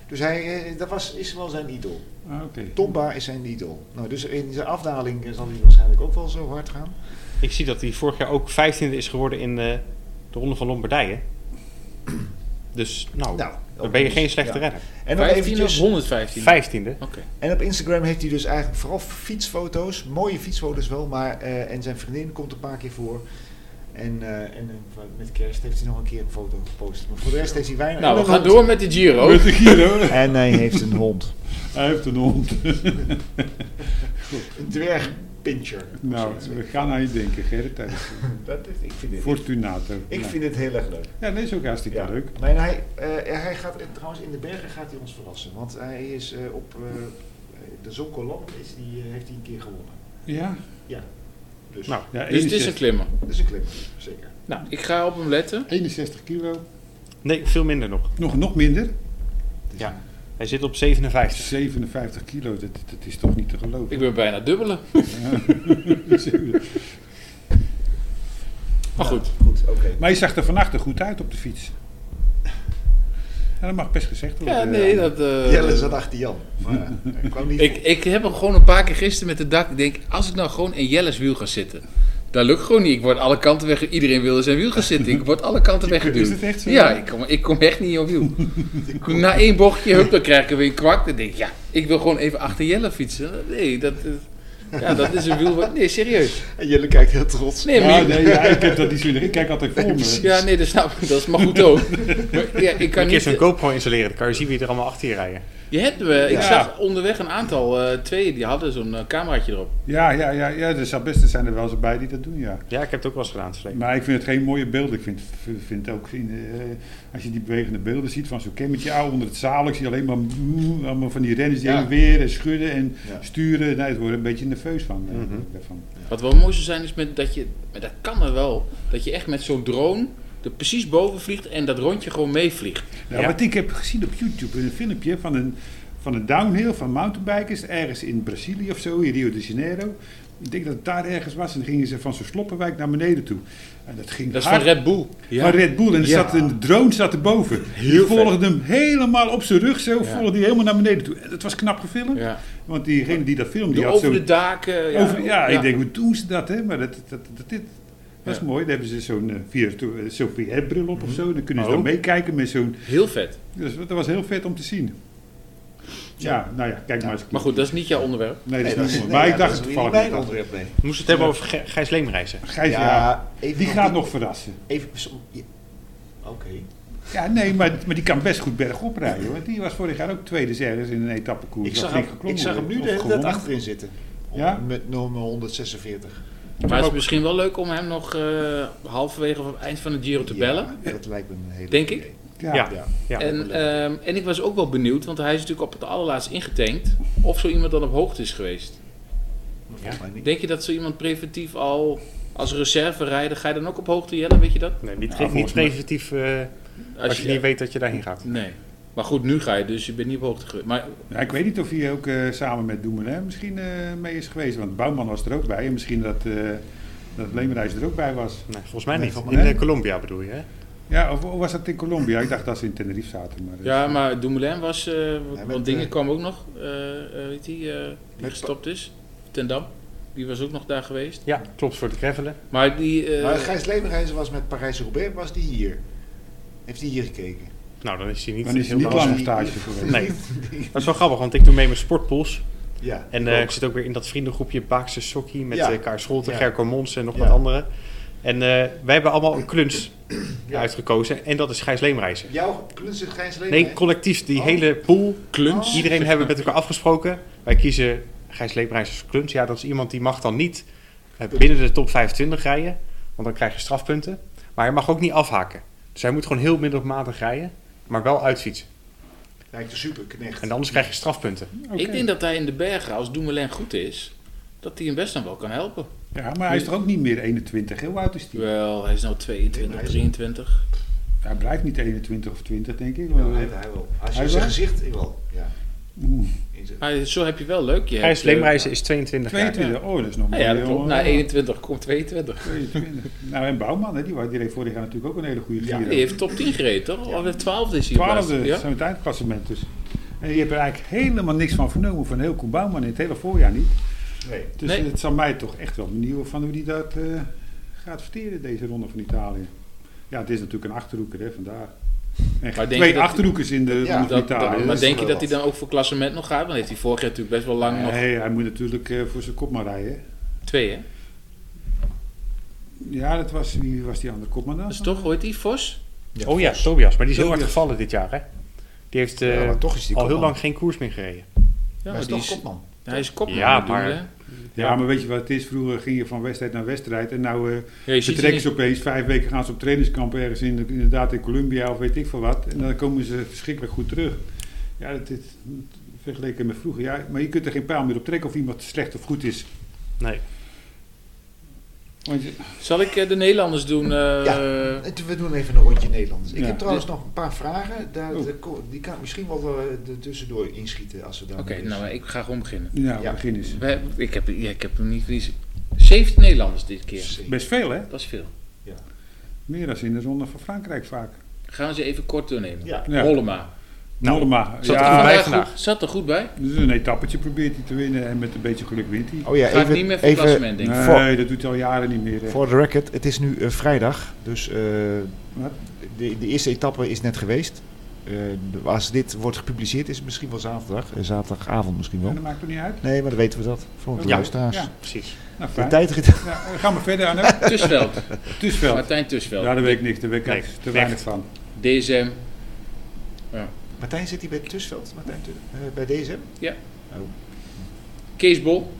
Dus hij, eh, dat was, is wel zijn idool. Ah, oké. Tomba is zijn idool. Nou, dus in zijn afdaling eh, zal hij waarschijnlijk ook wel zo hard gaan. Ik zie dat hij vorig jaar ook 15e is geworden in eh, de Ronde van Lombardije. Dus nou, Nou, dan ben je geen slechte ja. renner. En, nog 15 of eventjes, 115? 15e. Oké. en op Instagram heeft hij dus eigenlijk vooral fietsfoto's. Mooie fietsfoto's wel, maar... eh, en zijn vriendin komt een paar keer voor. En, eh, en eh, met kerst heeft hij nog een keer een foto gepost. Maar voor de rest heeft hij weinig... Nou, en we een gaan hond. door met de Giro. Met de Giro. En hij heeft een hond. Hij heeft een hond. Een dwergpincher. of zoiets. Nou, we gaan aan je denken, Gerrit. tijdens- Dat is, ik vind het, Fortunato. ik Ja. vind het heel erg leuk. Ja, dat is ook hartstikke Ja. leuk. Maar hij, eh, hij gaat, en trouwens in de bergen gaat hij ons verrassen. Want hij is eh, op eh, de Zonkolan is die, eh, heeft hij een keer gewonnen. Ja. Dus Nou, ja Dus het is 61, een klimmer. dat is een klim, zeker. Nou, ik ga op hem letten. 61 kilo. Nee, veel minder nog. Nog, nog minder. Ja. Hij zit op 57. 57 kilo, dat, dat is toch niet te geloven. Ik ben bijna dubbele. Maar Nou, goed. Goed, oké. maar je zag er vannacht er goed uit op de fiets. Ja, dat mag best gezegd worden. Ja, nee, dat... eh, Jelle zat achter Jan. Maar ja, hij kwam niet ik, voor. ik heb hem gewoon een paar keer gisteren met de dak. Ik denk, als ik nou gewoon in Jelles wiel ga zitten. Dat lukt gewoon niet. Ik word alle kanten weg. Iedereen wil in zijn wiel gaan zitten. Ik word alle kanten weggeduwd. is het echt zo? Ja, ik kom, ik kom echt niet op wiel. Na één bochtje, hup, dan krijg ik er weer een kwak. Dan denk ik, ja, ik wil gewoon even achter Jelle fietsen. Nee, dat, eh, ja, dat is een wiel... wat- Nee, serieus. En Jelle kijkt heel trots. Nee, maar Ja, je- nee, ja, ik heb dat niet zo. Ik kijk altijd voor me. Ja, nee, dat snap ik. Dat is maar goed ook. Maar, ja, ik kan Een keer zo'n niet... GoPro installeren, dan kan je zien wie er allemaal achter je rijden. Je hebt, eh, ik Ja. zag onderweg een aantal eh, tweeën die hadden zo'n eh, cameraatje erop. Ja, ja, ja, ja, er zou best er zijn er wel eens bij die dat doen, ja. Ja, ik heb het ook wel eens gedaan, Slee. Maar ik vind het geen mooie beelden. Ik vind, vind ook, in, eh, als je die bewegende beelden ziet van zo'n kemmetje oude onder het zaal, ik zie alleen maar mm, allemaal van die renners die Ja. heen en weer en schudden en Ja. sturen. Nee, het wordt een beetje nerveus van. eh, Mhm. daarvan. Wat wel mooi zou zijn is met dat je, maar dat kan er wel, dat je echt met zo'n drone er precies boven vliegt en dat rondje gewoon meevliegt. Nou, Ja. Wat ik heb gezien op YouTube, een filmpje van een, van de downhill van mountainbikers ergens in Brazilië of zo, in Rio de Janeiro. Ik denk dat het daar ergens was en dan gingen ze van zo'n sloppenwijk naar beneden toe. En dat ging Dat is van hard. Red Bull. Ja. Van Red Bull. En er Ja. zat een de drone zat erboven. die vet. volgde hem helemaal op zijn rug zo, Ja. volgde die helemaal naar beneden toe. En dat was knap gefilmd, Ja. want diegene die dat filmde, die De had over zo... de daken. Ja, Over- ja, ik denk, hoe doen ze dat, hè? Maar dat, dat, dat, dit, dat is Ja. mooi. Daar hebben ze zo'n eh, VR-to- eh, zo'n VR-bril op of zo. Dan kunnen ze Oh. dan meekijken met zo'n... Heel vet. Dus, dat was heel vet om te zien. Ja, nou ja, kijk maar eens. Maar goed, dat is niet jouw onderwerp. Nee, dat Nee, is niet dat mooi. is- Maar nee, ja, ik dacht dat is toevallig... niet mijn dat- onderwerp, nee. Moest het hebben over Ge- Gijs Leemreizen. Gijs, ja, even die nog gaat die- nog verrassen. Even perso- ja. Oké. Ja, nee, maar, maar die kan best goed bergop rijden. Want die was vorig jaar ook tweede ergens in een etappekoers. Ik Dat zag, ging hem, ik geklommen zag hem worden, nu of de hele tijd gewonnen. achterin zitten. Ja? Met nummer 146. Maar het is misschien wel leuk om hem nog eh, halverwege of op het eind van de Giro te bellen. Ja, dat lijkt me een hele Denk idee. ik. Ja. Ja. Ja. Ja. en, ehm, en ik was ook wel benieuwd, want hij is natuurlijk op het allerlaatst ingetankt. Of zo iemand dan op hoogte is geweest. Maar volgens mij niet. Denk je dat zo iemand preventief al als reserve rijden, ga je dan ook op hoogte jellen? Weet je dat? Nee, niet, Ja, niet volgens mij. preventief eh, als, je niet weet Dus- dat je daarheen gaat. Nee. Maar goed, nu ga je dus, je bent niet op hoogte geweest. Maar Ja, ik weet niet of hij ook eh, samen met Doemelen misschien eh, mee is geweest. Want Bouwman was er ook bij. En misschien dat, eh dat Leemreis er ook bij was. Nee, volgens mij Nee, niet. volgens In mij eh, niet. Colombia bedoel je, hè? Ja, of, of was dat in Colombia? Ik dacht dat ze in Tenerife zaten. Maar, eh, ja, maar Dumoulin was, eh, met, want dingen eh, kwam ook nog, eh, eh, weet die, eh, die met gestopt is. Ten Dam, die was ook nog daar geweest. Ja, klopt voor de gravelen. Maar die, eh, maar Gijs Leemreizen was met Parijs-Roubaix, was die hier. Heeft hij hier gekeken? Nou, dan is hij niet Dan is hij heel niet lang. lang op stage geweest. Nee. Dat is wel grappig, want ik doe mee mijn sportpools. Ja. En eh, ik zit ook weer in dat vriendengroepje Baakse Sokkie met Ja. eh Kaar Scholten, Ja. Gerco Mons en nog Ja. wat anderen. En eh, wij hebben allemaal een kluns uitgekozen en dat is Gijs Leemreizen. Jouw kluns is Gijs Leemreizen? Nee, collectief, die Oh. hele pool, Kluns. Oh. iedereen hebben we met elkaar afgesproken. Wij kiezen Gijs Leemreizen als kluns. Ja, dat is iemand die mag dan niet eh, binnen de top 25 rijden, want dan krijg je strafpunten. Maar hij mag ook niet afhaken. Dus hij moet gewoon heel middelmatig rijden, maar wel uitfietsen. Lijkt een superknecht. En anders krijg je strafpunten. ik denk dat hij in de bergen, als Dumoulin goed is, dat hij hem best dan wel kan helpen. Ja, maar hij is toch ook niet meer 21? Heel oud is hij. Wel, hij is nou 22, 23. Hij blijft niet 21 of 20, denk ik. Ja, hij, Maar- hij wel. Als je Hij zijn wel? gezicht, ik wel. Ja. Oeh, In zijn- Maar zo heb je wel leuk. Je Gijs hebt, eh, Leemreizen is 22 jaar. 22, oh, dat is nog nou maar ja, dat heel, klopt. eh, Na 21 komt 22. 22. Nou, en Bouwman, hè, die, wa- die heeft vorig jaar natuurlijk ook een hele goede Ja, Giro. die heeft top 10 gereden, toch? Of de 12 is hier. Twaalfde, ja? zijn we het eindklassement dus. En je hebt er eigenlijk helemaal niks van vernomen van heel Koen Bouwman in het hele voorjaar niet. Nee. Dus Nee. het zal mij toch echt wel benieuwen van hoe die dat eh, gaat verteren, deze ronde van Italië. Ja, het is natuurlijk een achterhoeker hè, vandaag. En denk je twee dat- achterhoekers in de Ja, ronde van Dat- dat- Italië. dus, eh, maar dat is denk je wel dat hij wat. dan ook voor klassement nog gaat? Want heeft hij vorig jaar natuurlijk best wel lang nog Nee, hij moet natuurlijk eh, voor zijn kopman rijden. hè. twee, hè? Ja, dat was, wie was die andere kopman dan? Dus toch, hoort die Vos? Oh ja, Tobias, maar die is heel hard Tobias. gevallen dit jaar, hè? Die heeft eh, Ja, maar toch is die al heel kopman. lang geen koers meer gereden. Ja, Maar hij maar is die toch is, kopman. hij is kopman. Ja, dat doen maar- we, hè? Ja, maar weet je wat het is? Vroeger ging je van wedstrijd naar wedstrijd en nou eh, Ja, je Ze ziet trekken het ze niet. opeens vijf weken gaan ze op trainingskamp ergens in, inderdaad in Colombia of weet ik veel wat. En dan komen ze verschrikkelijk goed terug. Ja, dat is vergeleken met vroeger. Ja, maar je kunt er geen pijl meer op trekken of iemand slecht of goed is. Nee. Want je- Zal ik eh, de Nederlanders doen? eh, Het- We doen even een rondje Nederlands. Ik Ja. heb trouwens nog een paar vragen. Daar, Oeh. daar ko- die kan ik misschien wel eh, er tussendoor inschieten als we daar. Oké, nou, ik ga gewoon beginnen. nou, Ja. begin eens. We hebben- ik, heb, ja, ik heb hem niet verliezen. 17 Nederlanders dit keer. Best veel, hè? Dat is veel. Meer dan in de ronde van Frankrijk vaak. Gaan we ze even kort doornemen. Ja. Ja. Hollema. Nou, Norma, Zat, ja, goed bij er vandaag vandaag. goed, zat er goed bij. dus een etappetje probeert hij te winnen en met een beetje geluk wint hij. Oh ja, Gaat niet meer voor klassement, denk ik. Nee, Voor- dat doet hij al jaren niet meer. hè. Voor de record, het is nu eh, vrijdag, dus eh, Wat? de, de eerste etappe is net geweest. Eh, de- als dit wordt gepubliceerd is het misschien wel zaterdag, eh, zaterdagavond misschien wel. En dat maakt toch niet uit? Nee, maar dan weten we dat, voor de Ja. luisteraars. Ja. Precies. Nou, De fijn. tijdrit, Ja, ga maar verder, Arno. Tussveld. Tussveld. Martijn Tussveld. Ja, daar weet ik niks. Daar weet ik Nee, echt te echt. weinig van. DSM. Martijn zit hier bij Tussveld, Martijn, Tu- eh, bij deze. Kees Bol.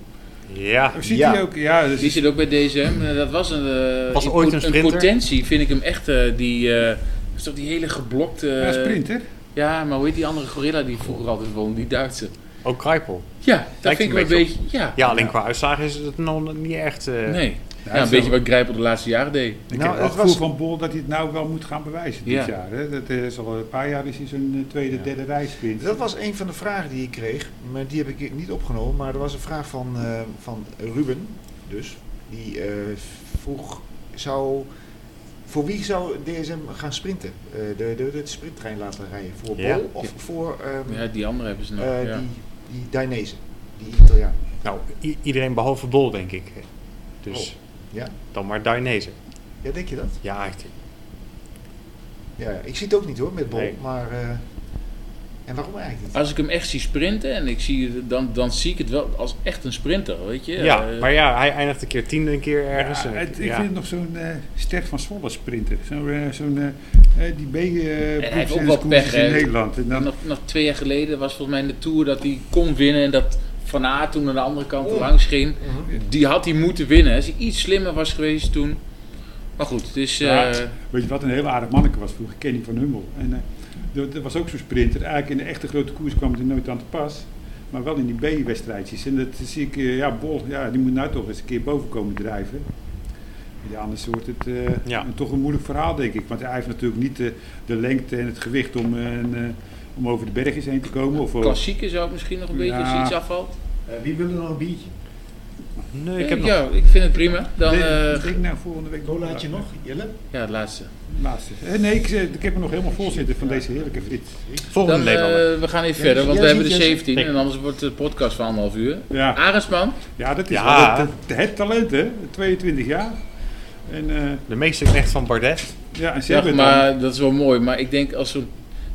Ja. Ziet Ja. hij ook? Ja, dus Die zit ook bij DSM. Eh, Dat was een, eh, Was in ooit pot- een sprinter? potentie vind ik hem echt eh, die... eh, is toch die hele geblokte... ja, sprinter. Ja, maar hoe heet die andere gorilla die vroeger altijd won? Die Duitse. Ook Kruipel. Ja, dat Lijkt vind ik een wel een beetje. beetje Ja, Ja, alleen qua uitslagen is het nog niet echt... eh, nee. Ja, het een is beetje wel- wat Grijpel de laatste jaren deed. Ik Nou, heb wel het het gevoel was- van Bol dat hij het nou wel moet gaan bewijzen Ja. dit jaar. Hè? Dat is al een paar jaar is hij zo'n eh, tweede, derde reiswinst. Dat was een van de vragen die ik kreeg, maar die heb ik niet opgenomen. Maar er was een vraag van, eh, van Ruben, dus, die eh, vroeg, zou, voor wie zou DSM gaan sprinten? Eh, de, de, de sprinttrein laten rijden, voor Bol Ja. of voor ehm, Ja, die andere hebben ze nog. eh, ja. die, die Dainese, die Italiaan? Nou, i- iedereen behalve Bol, denk ik. Dus Ja. dan maar Dainese. Ja, denk je dat? Ja, echt. Ja, ik zie het ook niet hoor, met Bol, Nee. maar... eh, en waarom eigenlijk niet? Als ik hem echt zie sprinten en ik zie, het, dan, dan zie ik het wel als echt een sprinter, weet je. Ja, Eh, maar ja, hij eindigt een keer tiende, een keer ergens. Ja, eh, Ah, het- ik ja. vind het nog zo'n eh Ster van Zwolle sprinter. Zo'n eh, zo'n, eh, eh, die b eh heeft proefs ook en wel koersen pech, hè. in Nederland. En dan, nog, nog twee jaar geleden was volgens mij in de Tour dat hij kon winnen en dat Van Aert toen aan de andere kant Oh. langs ging. Mhm. Die had hij moeten winnen. Als hij iets slimmer was geweest toen. Maar goed, het is... eh, Ja. weet je wat een heel aardig manneke was vroeger? Kenny van Hummel. En eh, dat, dat was ook zo'n sprinter. Eigenlijk in de echte grote koers kwam het er nooit aan te pas. Maar wel in die B-wedstrijdjes. En dat zie ik, eh, ja, Bol, ja, die moet nou toch eens een keer boven komen drijven. Ja, anders wordt het eh, Ja. een- toch een moeilijk verhaal, denk ik. Want hij heeft natuurlijk niet eh, de lengte en het gewicht om, eh, een, eh, om over de bergjes heen te komen. Of, eh, over- klassieker zou ik misschien nog een beetje, als Ja. er iets afvalt. Eh, wie wil er nog een biertje? Nee, ik heb nog... ja, ik vind het prima. Dan, Nee, eh, ik denk nou volgende week Colaatje nog? Jelle? ja, het laatste. Laatste. Eh, nee, ik, eh, ik heb er nog helemaal vol zitten van deze heerlijke friet. Volgende Dan, eh, Nederlander. we gaan even Ja, verder, ja, want we ja, hebben de ja, ja. 17 Ik- en anders wordt de podcast van anderhalf uur. Ja. Arendsman, Ja, dat is Ja. wel het, het talent, hè? 22 jaar. En, eh, De meeste knecht van Bardet. ja, en ze zeg hebben maar, dat is wel mooi. Maar ik denk, als zo'n-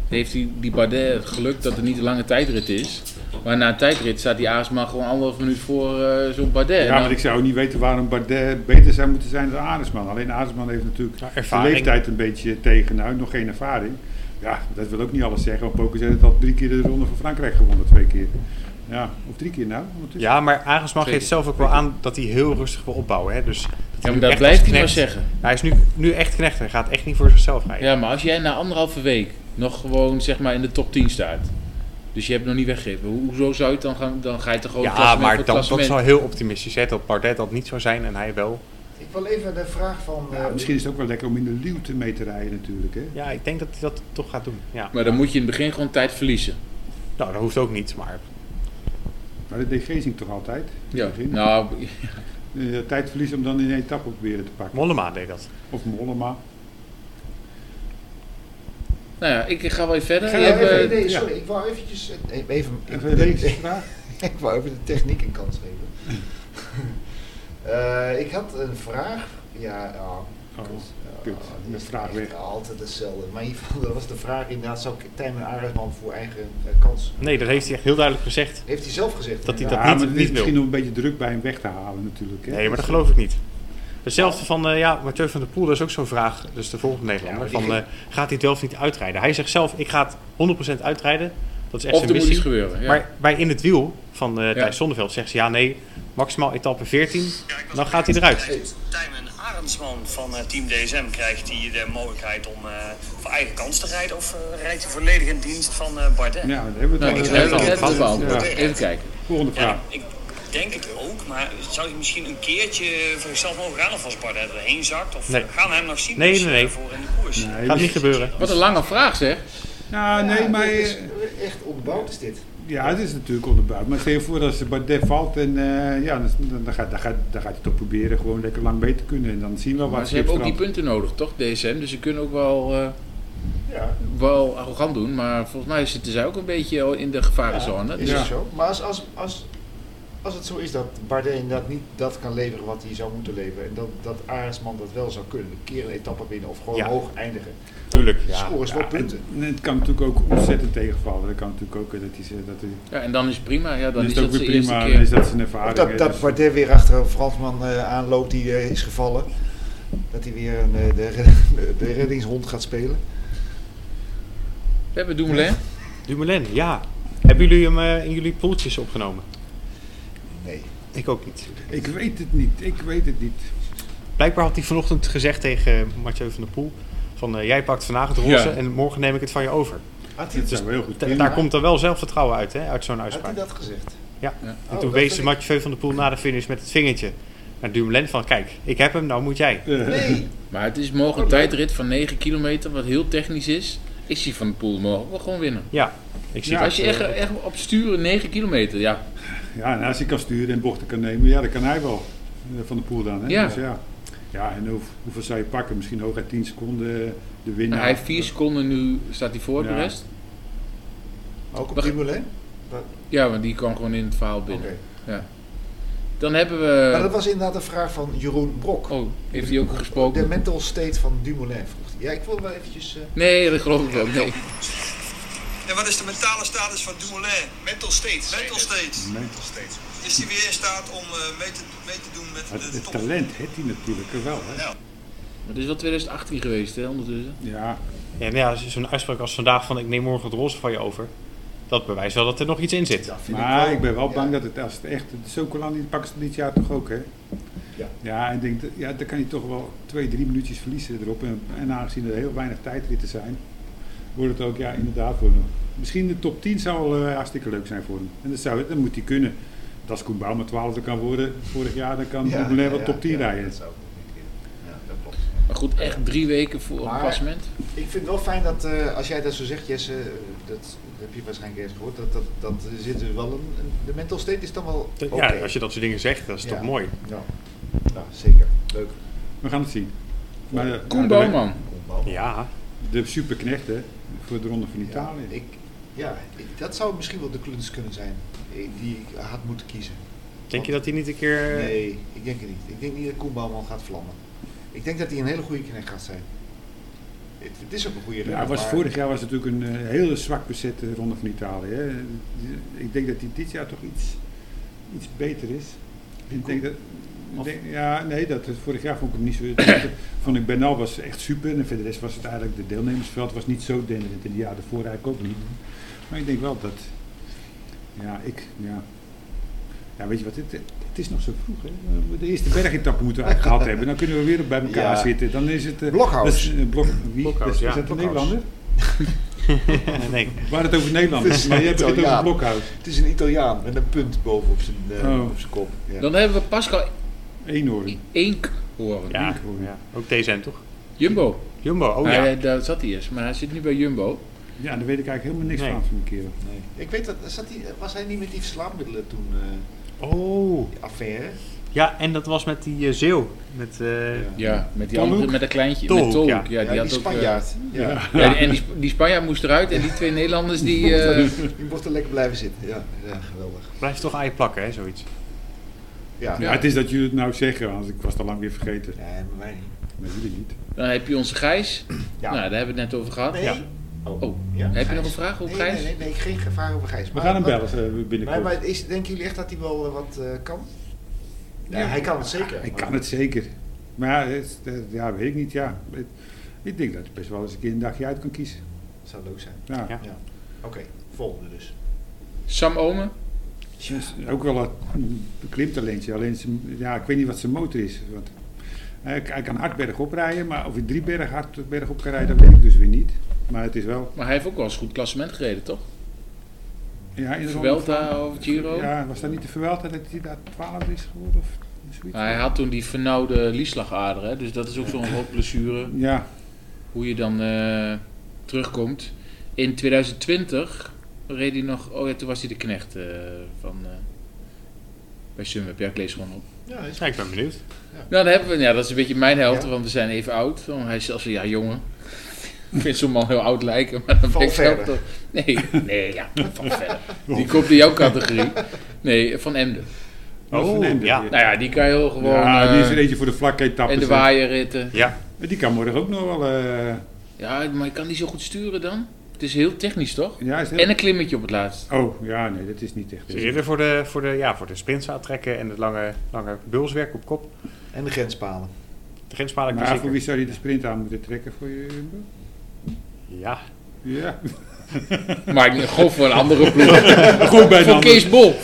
heeft die, die Bardet het geluk dat het niet een lange tijdrit is. Maar na een tijdrit staat die Arendsman gewoon anderhalf minuut voor eh, zo'n Bardet. dan- En ja, dan- maar ik zou niet weten waarom Bardet beter zou moeten zijn dan Aresman. Alleen Aresman heeft natuurlijk Ja, zijn ervaring. leeftijd een beetje tegen. Nou, nog geen ervaring. Ja, dat wil ook niet alles zeggen. Want Poker heeft al drie keer de ronde van Frankrijk gewonnen, twee keer. Ja, of drie keer nou. ondertussen. Ja, maar Agensman Zeker. geeft zelf ook wel aan dat hij heel rustig wil opbouwen. Hè? Dus dat hij Ja, nu maar dat echt blijft als hij maar knecht- zeggen. Hij is nu, nu echt knecht. Hij gaat echt niet voor zichzelf rijden. Ja, maar als jij na anderhalve week nog gewoon zeg maar in de top 10 staat. Dus je hebt het nog niet weggegeven. Ho- Hoezo zou je het dan gaan? Dan ga je toch Ja, gewoon klassement maar voor dat, dat is klassement? wel heel optimistisch. Hè? Dat Bardet dat niet zou zijn en hij wel. Ik wil even de vraag van... Ja, eh, misschien is het ook wel lekker om in de Leeuw te mee te rijden natuurlijk, hè? Ja, ik denk dat hij dat toch gaat doen. Ja. Maar dan moet je in het begin gewoon tijd verliezen. Nou, dat hoeft ook niet. Maar Maar dat deed Gezing toch altijd? in Ja. het begin? Nou, Eh, tijd verliezen om dan in één etappe proberen te pakken. Mollema deed dat. Of Mollema. nou ja, ik ga wel even verder. Ga Je Ja, hebt, even- eh, nee, ja. sorry, ik wou eventjes... eh, Even, Even een leesvraag. Ik wou even de techniek een kans geven. Eh, ik had een vraag. Ja, oh, kut. Oh, Oh, kut. dit Mijn is vraag echt weg. Altijd hetzelfde. Maar in ieder geval, dat was de vraag inderdaad, zou ik Tijmen Arendsman voor eigen eh, kans... Nee, dat heeft hij echt heel duidelijk gezegd. Heeft hij zelf gezegd. Dat hij inderdaad. dat Ja, niet- maar het is niet misschien wil. om een beetje druk bij hem weg te halen natuurlijk. Hè? Nee, maar dat geloof ik niet. Hetzelfde van, eh, ja, Mathieu van der Poel, dat is ook zo'n vraag. Dus de volgende Nederlander. Ja, maar van, die eh, gaat hij het wel of niet uitrijden? Hij zegt zelf, ik ga het 100% uitrijden. Dat is echt of zijn er moet iets missie. gebeuren. Ja. Maar bij In het Wiel van eh Ja. Thijs Zonneveld zegt ze, ja, nee, maximaal etappe 14. Dan gaat hij eruit. Tijmen Arendsman van eh, Team DSM krijgt hij de mogelijkheid om eh, voor eigen kans te rijden of eh, rijdt hij volledig in dienst van eh Bardet? Ja, daar hebben we nou, het al. dat ik over. heb hebben het we al. net gehad. beantwoord. Ja. Even kijken. Volgende vraag. Ja, ik denk het ook, maar zou hij misschien een keertje voor zichzelf mogen gaan of als Bardet erheen zakt? Of Nee. gaan we hem nog zien Nee, dus, nee, nee. eh, voor in de koers? Nee, Gaat maar- niet gebeuren. Wat een lange vraag zeg. Ja, nee, Ja, maar... dit is eh, echt onderbouwd is dit. Ja, het is natuurlijk onderbouwd. Maar stel je voor dat ze Bardet valt en eh, ja, dan, dan, dan gaat, dan, gaat, dan gaat hij toch proberen gewoon lekker lang mee te kunnen. En dan zien we Maar wat ze hebben ook die punten nodig, toch? DSM. Dus ze kunnen ook wel, eh, Ja, wel arrogant doen. Maar volgens mij zitten zij ook een beetje al in de gevarenzone. is Dus- Ja. het zo. Maar als, als, als, als het zo is dat Bardet inderdaad niet dat kan leveren wat hij zou moeten leveren... en dat, dat Arendsman dat wel zou kunnen, een keer een etappe winnen of gewoon Ja. hoog eindigen... Tuurlijk, ja. scoren ze wel punten. En het kan natuurlijk ook ontzettend tegenvallen. Dat kan natuurlijk ook eh, dat hij... ze- Dat hij Ja, en dan is het prima. Ja, dan dan is is dat het ook de weer eerste prima. Dan is keer. dat zijn Of ervaring. dat, hè, dus- dat Bardet weer achter een Fransman eh, aanloopt die eh, is gevallen. Dat hij weer een, eh, de, red- de reddingshond gaat spelen. We hebben Dumoulin. Dumoulin, ja. Hebben jullie hem eh, in jullie poeltjes opgenomen? Nee. Ik ook niet. Ik weet het niet. Ik weet het niet. Blijkbaar had hij vanochtend gezegd tegen Mathieu van der Poel... van eh, jij pakt vandaag het roze Ja. en morgen neem ik het van je over. Had hij, Dat Dus zou heel goed da- kunnen. daar komt dan wel zelfvertrouwen uit, hè, uit zo'n had uitspraak. hij dat gezegd? Ja. Ja. En Oh, toen dat wees vind Mathieu van der Poel na de finish met het vingertje naar Dumoulin van... Kijk, ik heb hem, nou moet jij. ik- Nee, Maar het is morgen een tijdrit van 9 kilometer, wat heel technisch is. Ik zie Van de Poel morgen wel gewoon winnen. Ja, ik zie Ja, dat, Als je eh, echt, echt op sturen 9 kilometer, ja. Ja, en als hij kan sturen en bochten kan nemen, ja, dat kan hij wel. eh, Van de poel dan. Hè? Ja. Dus ja. ja, en hoe- hoeveel zou je pakken? Misschien hooguit 10 seconden eh, de winnaar. Nou, hij heeft 4 seconden nu, staat hij voor de Ja. rest. ook op Wacht. Dumoulin. Ja, want die kwam gewoon in het verhaal binnen. Oké. Dan hebben Maar dat we... was inderdaad een vraag van Jeroen Brok. Oh, heeft hij ook De gesproken? mental state van Dumoulin vroeg hij. Ja, ik wil wel eventjes... eh, Nee, dat geloof ik wel. Nee. En wat is de mentale status van Dumoulin? Mental state. Mental state. Mental Is hij weer in staat om eh, mee, te, mee te doen met Het, de, het top? talent heeft hij natuurlijk wel. Hè? Ja. Maar het is wel 2018 geweest, hè, ondertussen. Ja, ja, nou ja, zo'n uitspraak als vandaag van... Ik neem morgen het roze van je over. Dat bewijst wel dat er nog iets in zit. vind maar wel- ik ben wel Ja. bang dat het als het echt... Zokolan die pakken ze dit jaar toch ook, hè? Ja. Ja, ik denk, dat- ja, dan kan hij toch wel twee, drie minuutjes verliezen erop. En, en aangezien er heel weinig tijdritten zijn, wordt het ook, ja, inderdaad voor hem. Misschien de top 10 zou al eh, hartstikke leuk zijn voor hem. En dat, zou, dat moet hij kunnen. Want als Koen Bouwman 12 kan worden vorig jaar, dan kan Ja, Dumoulin ja, wel ja, top 10 ja, rijden. dat zou ik ook niet willen. Ja, dat klopt. Maar goed, echt drie weken voor een Maar- passement. Ik vind het wel fijn dat, eh, als jij dat zo zegt, Jesse, dat, dat heb je waarschijnlijk eens gehoord, dat, dat, dat er zit er wel een, een- De mental state is dan wel. Ja, oké. als je dat soort dingen zegt, dat is toch Ja. mooi. Ja. Ja, zeker. Leuk. We gaan het zien. Maar, eh, Koen de- Bouwman. Opbouw. Ja, De superknecht, hè, voor de Ronde van Italië. Ik, ja, ik- dat zou misschien wel de kluns kunnen zijn eh, die ik had moeten kiezen. denk je dat hij niet een keer... eh, Nee, ik denk het niet. Ik denk niet dat Koen Bouwman gaat vlammen. Ik denk dat hij een hele goede knecht gaat zijn. Het, het is ook een goede Ja, renner, het was maar- vorig jaar was het natuurlijk een eh, hele zwak bezette ronde van Italië. Hè. Ik denk dat die dit jaar toch iets, iets beter is. Ik denk dat, ik denk- ja, nee, dat, eh, vorig jaar vond ik hem niet zo. vond ik Bernal was echt super. En verder was het eigenlijk de deelnemersveld was niet zo denderend. En die jaar daarvoor eigenlijk ook niet. Maar ik denk wel dat. Ja, ik. Ja, ja weet je wat? Het, het is nog zo vroeg. Hè. De eerste bergetappe moeten we eigenlijk gehad hebben. Dan kunnen we weer bij elkaar Ja. zitten. Dan is het. eh, Blokhuis. dat is, eh, blok, wie? Blokhuis, Dat is- ja. is dat een Blokhuis. Nederlander? nee. We hadden het over Nederland, maar jij hebt het over Ja. het blokhuis. Het is een Italiaan met een punt boven op zijn, eh, Oh. op zijn kop. Ja. Dan hebben we Pascal Eenhoorn. Eink horen. Ja, hoor. ja, ook DSM toch? Jumbo. Jumbo, oh ja. Hij, eh, daar zat hij eerst, maar hij zit nu bij Jumbo. Ja, daar weet ik eigenlijk helemaal niks Nee. van van die kerel. Ik weet dat, zat hij, was hij niet met die slaapmiddelen toen eh Oh. affaire? Ja, en dat was met die eh, zeeuw. Met, eh, Ja, met die Tolhoek? andere, met dat kleintje, Tolhoek, met Tolhoek. Ja, Ja, ja. die, die, had ook, eh, Spanjaard. ja. ja, en die, Sp- die Spanjaard moest eruit en die twee Nederlanders die... eh, Die mocht er lekker blijven zitten. Ja, ja geweldig. Blijft toch aan je plakken, hè, zoiets. Ja. Ja, het is dat jullie het nou zeggen, want ik was het al lang weer vergeten. Nee, maar wij niet. Maar jullie niet. dan heb je onze Gijs. Ja. Nou, daar hebben we het net over gehad. Nee. Ja. Oh. Oh, Ja, heb je Gijs. nog een vraag over Nee, Gijs? nee, nee, nee, geen gevaar over Gijs. We gaan hem maar- bellen eh, Maar, binnenkort. maar is, denken jullie echt dat hij wel eh, wat eh, kan? Ja, ah, hij kan het zeker. Hij kan het zeker. Maar ja, het is- eh, ja, weet ik niet. Ja. Ik- Ik denk dat je best wel eens een keer een dagje uit kan kiezen. Zou leuk zijn. Ja. Ja. Oké, volgende dus. Sam Omen. Ook wel een klimtalentje. Alleen, zijn- ja, ik weet niet wat zijn motor is. Want hij, hij kan hard berg oprijden, maar of hij drie berg hard berg op kan rijden, dat weet ik dus weer niet. Maar het is wel... Maar hij heeft ook wel eens goed klassement gereden, toch? Ja, in de ronde van- Vuelta of Giro. Ja, was dat niet de verwelte dat hij daar 12 is geworden of zoiets? Maar hij had toen die vernauwde lieslagader, hè? dus dat is ook zo'n hoop blessure. Ja, Hoe je dan eh, terugkomt. In 2020 reed hij nog, oh ja, toen was hij de knecht eh, van, eh, bij Sunweb. Ja, ik lees gewoon op. Ja, is Ja, ik ben benieuwd. Nou, dan hebben we, ja, dat is een beetje mijn helft, Ja. want we zijn even oud. Want hij is zelfs een jaar jonger. Ik vind zo'n man heel oud lijken, maar dan Van ben ik zelf verder. toch- Nee, nee, ja, van verder. Die komt in jouw categorie. Nee, van Emden. Oh, Oh, van Emden ja. weer. Nou ja, die kan heel gewoon... ja, die is eh, er eentje voor de vlakke etappe. en de waaierritten. Ja, Die kan morgen ook nog wel... eh, Ja, maar ik kan die zo goed sturen dan. Het is heel technisch, toch? ja, is het- En een klimmetje op het laatst. Oh, ja, nee, dat is niet echt. ze is Dus eerder voor de, voor de, ja, voor de sprints aantrekken en het lange, lange bulswerk op kop. En de grenspalen. De grenspaal ik Maar voor zeker. wie zou hij de sprint aan moeten trekken voor je? Jumbo? Ja, Ja, Maar ik gof voor een andere ploeg. Goed bij Voor dan. Kees Bol.